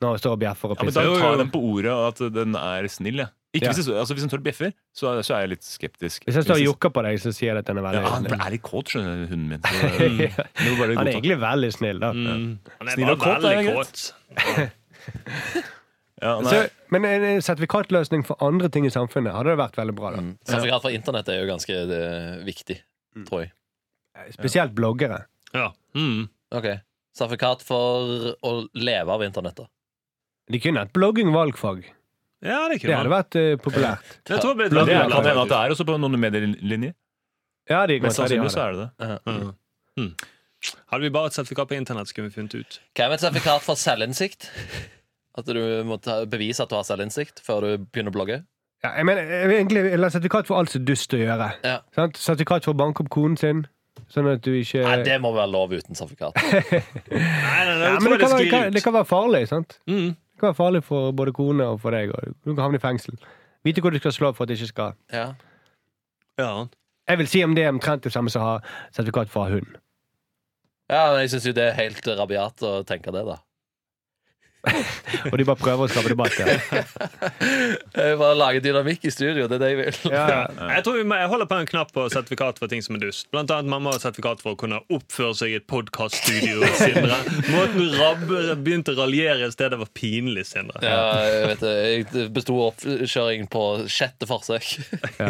Speaker 2: Når han står og bjeffer og
Speaker 6: Ja, men
Speaker 2: pisser.
Speaker 6: da
Speaker 3: Jo,
Speaker 6: tar
Speaker 3: jo.
Speaker 6: jeg den på ordet at den er snill, jeg. Ikke
Speaker 2: Ja.
Speaker 6: hvis, jeg, altså, hvis en tør bjeffer, så, er- så er jeg litt skeptisk.
Speaker 2: Hvis jeg står og
Speaker 6: Hvis
Speaker 2: jokker på deg, så sier jeg at den er
Speaker 6: ja,
Speaker 2: veldig
Speaker 6: Han
Speaker 2: snill.
Speaker 6: er litt kåt, skjønner du, hunden min. Så, mm, det må bare
Speaker 2: Han er
Speaker 6: godta.
Speaker 2: egentlig veldig snill, da.
Speaker 6: Mm.
Speaker 3: Han er
Speaker 6: Snill og
Speaker 3: bare
Speaker 6: kåt, er
Speaker 3: veldig
Speaker 6: det
Speaker 3: kåt.
Speaker 6: Ja, nei.
Speaker 2: Så, men eh, en en sertifikatløsning for andre ting i samfunnet hadde det vært veldig bra.
Speaker 6: Mm.
Speaker 2: da.
Speaker 5: Mm. Sertifikat for internett er jo ganske eh, viktig,
Speaker 2: Mm.
Speaker 5: tror jeg.
Speaker 2: Spesielt bloggere.
Speaker 3: Ja. Mm.
Speaker 5: Ok, Sertifikat for å leve av internettet.
Speaker 2: De kunne hatt blogging valgfag.
Speaker 3: ja, det
Speaker 2: Det
Speaker 3: kunne
Speaker 2: hadde
Speaker 3: man.
Speaker 2: vært eh, populært.
Speaker 3: Jeg tror det ble
Speaker 6: Det
Speaker 3: et
Speaker 6: er- kan hende at
Speaker 3: blad.
Speaker 6: det er også på noen medielinjer.
Speaker 2: Ja, de kan
Speaker 6: Mest
Speaker 2: ta de
Speaker 6: sannsynlig
Speaker 2: av
Speaker 6: så
Speaker 2: det.
Speaker 6: er det det.
Speaker 5: Hva
Speaker 3: Hadde vi bare et sertifikat på internett, skulle vi funnet ut.
Speaker 5: med et sertifikat for selvinnsikt? At du må ta, bevise at du har selvinnsikt før du begynner å blogge?
Speaker 2: Ja, jeg mener, eh, jeg vil egentlig eller sertifikat for alt som er dust å gjøre.
Speaker 5: Ja.
Speaker 2: Sant? Sertifikat for å banke opp konen sin, sånn at du ikke
Speaker 5: Nei, det må være lov uten sertifikat.
Speaker 3: Nei, nei, nei,
Speaker 2: Ja, men
Speaker 3: jeg tror
Speaker 2: det
Speaker 3: det
Speaker 2: kan, være,
Speaker 3: sklir
Speaker 2: kan, det
Speaker 3: ut.
Speaker 2: kan være farlig, sant?
Speaker 3: Mm.
Speaker 2: Det kan være farlig for både kone og for deg, og du kan havne i fengsel. Vite hvor du skal slå for at det ikke skal
Speaker 5: Ja.
Speaker 3: Ja.
Speaker 2: Jeg vil si om det er omtrent det samme som å ha sertifikat fra hund.
Speaker 5: ja, men jeg syns jo det er helt rabiat å tenke det, da.
Speaker 2: Og de bare prøver å skape debatt. Ja.
Speaker 5: Jeg bare lager dynamikk i studio, det er det jeg vil.
Speaker 2: Ja, ja.
Speaker 3: Jeg tror vi må- jeg holder på en knapp på sertifikat for ting som er dust. Blant annet mamma har sertifikat for å kunne oppføre seg i et podkaststudio. Måten Rabbe begynte å raljere i stedet, var pinlig, Sindre.
Speaker 5: Ja, jeg vet det. Jeg besto oppkjøringen på sjette forsøk.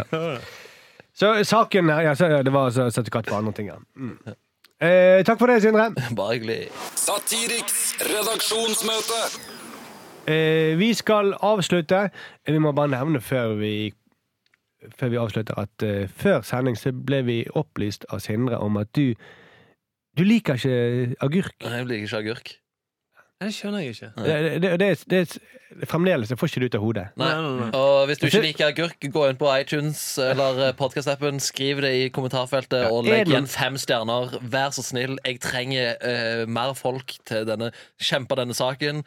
Speaker 2: Så saken her, ja, så, Det var altså sertifikat for andre ting, ja. Mm. Eh, takk for det, Sindre.
Speaker 5: Bare hyggelig.
Speaker 4: Satiriks redaksjonsmøte.
Speaker 2: Eh, vi skal avslutte. Vi må bare nevne før vi, før vi avslutter at eh, før sending så ble vi opplyst av Sindre om at du Du liker ikke agurk.
Speaker 5: Jeg liker ikke agurk.
Speaker 3: Det skjønner jeg ikke.
Speaker 2: Det, det, det, det, det Fremdeles. Jeg får ikke det ut av hodet.
Speaker 5: Nei.
Speaker 3: Nei, nei, nei.
Speaker 5: Og hvis du ikke liker agurk, gå inn på iTunes eller podkast-appen. Skriv det i kommentarfeltet og
Speaker 2: er det
Speaker 5: legg
Speaker 2: noen-
Speaker 5: igjen fem stjerner. Vær så snill. Jeg trenger eh, mer folk til denne kjempe denne saken.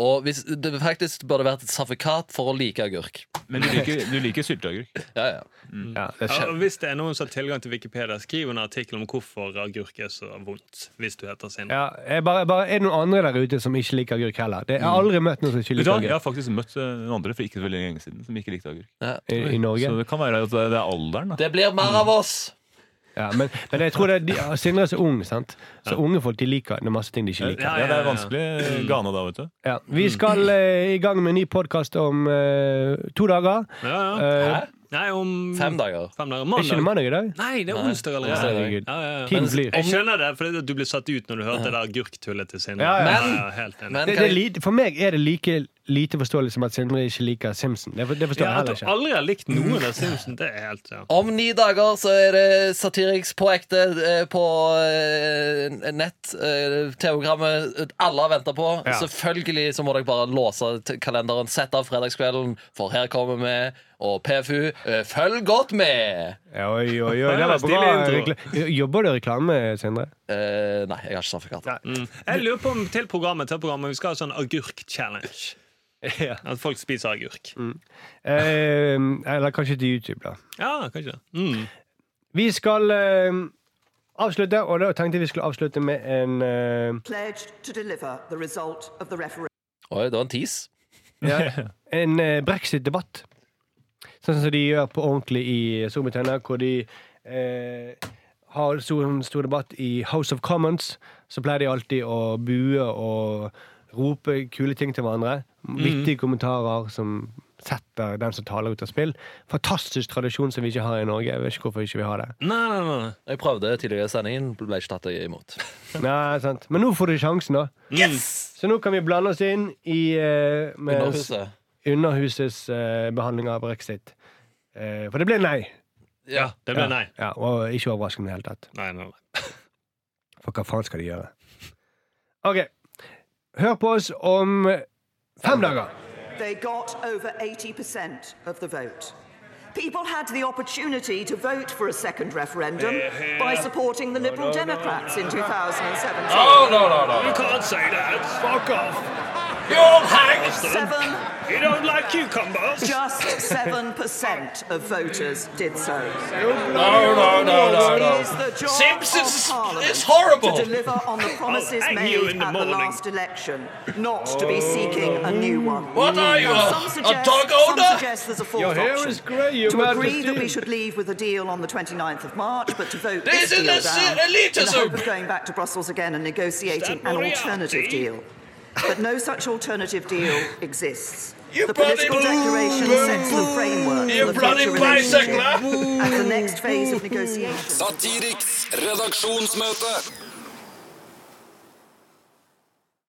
Speaker 5: Og hvis, det faktisk burde vært et sertifikat for å like agurk.
Speaker 6: Men du liker, du liker sylteagurk?
Speaker 5: Ja, ja.
Speaker 2: Ja, det
Speaker 3: Mm. Ja,
Speaker 2: skjer.
Speaker 3: og hvis det er noen som har tilgang til Wikipedia, skriv en artikkel om hvorfor agurk er så vondt. Hvis du heter Sindre.
Speaker 2: Ja, jeg bare, bare, er det noen andre der ute som ikke liker agurk heller? Det, jeg
Speaker 3: Mm.
Speaker 2: har aldri møtt noen som ikke
Speaker 6: Vet
Speaker 2: liker
Speaker 6: du hva? Jeg
Speaker 2: agurk
Speaker 6: har faktisk møtt eh, noen andre for ikke så veldig lenge siden som ikke likte agurk.
Speaker 5: ja.
Speaker 2: i, i Norge.
Speaker 6: Så det kan være at det det er alderen. da
Speaker 5: Det blir mer av oss!
Speaker 2: Ja, men, men jeg tror det, er de, ja, Sindre er så ung, sant? Så unge folk de liker det er masse ting de ikke liker.
Speaker 3: Ja, Mm.
Speaker 6: Ja,
Speaker 3: ja,
Speaker 6: Det
Speaker 3: ja,
Speaker 6: er
Speaker 3: ja.
Speaker 6: vanskelig. Ghana da, vet du.
Speaker 2: Ja, vi skal eh, i gang med en ny podkast om eh, to dager.
Speaker 3: Ja, ja.
Speaker 2: Eh,
Speaker 5: Hæ?
Speaker 3: Nei, om
Speaker 5: Fem dager.
Speaker 3: Fem dager.
Speaker 2: er ikke det
Speaker 3: Mandag.
Speaker 2: mandag i dag?
Speaker 3: Nei, det er
Speaker 5: Nei. Onsdag
Speaker 3: onsdag allerede.
Speaker 5: er
Speaker 2: det, Gud.
Speaker 3: Ja, ja, ja.
Speaker 2: Tiden flyr.
Speaker 3: Jeg skjønner det, fordi du ble satt ut når du hørte det der agurktullet til Sindre.
Speaker 2: Ja, ja.
Speaker 3: helt enig.
Speaker 5: Men
Speaker 2: Det, det er
Speaker 5: kan jeg,
Speaker 2: lite, for meg er det like lite forståelig som at Sindre ikke liker Simpson. Det, for- det forstår
Speaker 3: Ja,
Speaker 2: jeg
Speaker 3: at
Speaker 2: heller
Speaker 3: du
Speaker 2: ikke.
Speaker 3: aldri har likt noen av Simpsons, det er helt ja.
Speaker 5: om ni dager så er det Satiriks på ekte eh, på eh, nett. eh, TV-programmet alle har venta på.
Speaker 2: Ja.
Speaker 5: Selvfølgelig så må dere bare låse t- kalenderen, sette av fredagskvelden, for her kommer vi. Og PFU, eh, følg godt med!
Speaker 2: Oi, oi, oi,
Speaker 3: Ja,
Speaker 2: det var
Speaker 3: stilig
Speaker 2: bra.
Speaker 3: intro.
Speaker 2: rekla- Jobber du i reklame, Sindre?
Speaker 5: Eh, nei, jeg har ikke sertifikat.
Speaker 3: Jeg lurer på om til programmet, til programmet vi skal ha sånn agurk-challenge.
Speaker 2: Ja.
Speaker 3: At folk spiser agurk.
Speaker 2: Mm. Eh, eller kanskje til YouTube, da.
Speaker 3: Ja, kanskje. Mm.
Speaker 2: Vi skal eh, avslutte, og da tenkte jeg vi skulle avslutte med en eh,
Speaker 1: pledged to deliver the result of the referendum.
Speaker 5: Oi, det var en tis.
Speaker 2: Ja. En eh, brexit-debatt. Sånn som de gjør på ordentlig i Storbritannia, hvor de eh, har stor, en stor debatt i House of Commons. Så pleier de alltid å bue og rope kule ting til hverandre. Vittige kommentarer som setter den som taler, ut av spill. Fantastisk tradisjon som vi ikke har i Norge. Jeg vet ikke hvorfor ikke vi har det.
Speaker 3: Nei, nei, nei.
Speaker 5: Jeg prøvde tidligere i sendingen, ble ikke tatt imot.
Speaker 2: Nei, sant. Men nå får du sjansen, da. Så nå kan vi blande oss inn i eh, med-
Speaker 5: Underhuset.
Speaker 2: Underhusets eh, behandling av brexit. Eh, for det ble nei.
Speaker 5: Ja.
Speaker 3: Det ble nei.
Speaker 2: Ja, og ikke overraskende i det hele tatt.
Speaker 3: Nei, nei, nei.
Speaker 2: For hva faen skal de gjøre? OK. Hør på oss om fem dager.
Speaker 1: They got over 80% of the vote. People had the opportunity to vote for a second referendum by supporting the Liberal Democrats in 2017.
Speaker 3: You can't say that. Fuck off.
Speaker 1: Seven,
Speaker 3: You don't like cucumbers.
Speaker 1: just 7% of voters did so. It is the job
Speaker 5: Simpsons
Speaker 1: of Parliament
Speaker 5: is horrible.
Speaker 1: to deliver on the promises
Speaker 3: hang you
Speaker 1: made
Speaker 3: in the
Speaker 1: at
Speaker 3: morning.
Speaker 1: the last election, not to be seeking a new one.
Speaker 5: Oh. What are you,
Speaker 1: Now,
Speaker 5: a-
Speaker 1: some
Speaker 5: a
Speaker 1: suggest,
Speaker 5: dog
Speaker 1: some
Speaker 5: owner?
Speaker 1: suggest there's a fourth
Speaker 2: Your hair
Speaker 1: option.
Speaker 2: is grey, Your
Speaker 1: to agree that we
Speaker 2: Majesty.
Speaker 1: should leave with a deal on the 29th of March, but to vote
Speaker 5: This
Speaker 1: this,
Speaker 5: is
Speaker 1: deal
Speaker 5: a s-
Speaker 1: down in
Speaker 5: elitism.
Speaker 1: the hope of going back to Brussels again and negotiating
Speaker 3: that
Speaker 1: an
Speaker 3: Moriarty?
Speaker 1: alternative deal. But no such alternative deal exists.
Speaker 5: You
Speaker 1: the
Speaker 5: bloody
Speaker 1: political
Speaker 5: boo,
Speaker 1: declaration
Speaker 5: boo,
Speaker 1: sets the framework
Speaker 5: You
Speaker 1: for the
Speaker 5: bloody
Speaker 1: future relationship
Speaker 5: bicycler.
Speaker 1: and the next phase of negotiations.
Speaker 4: Satiriks redaksjonsmøte.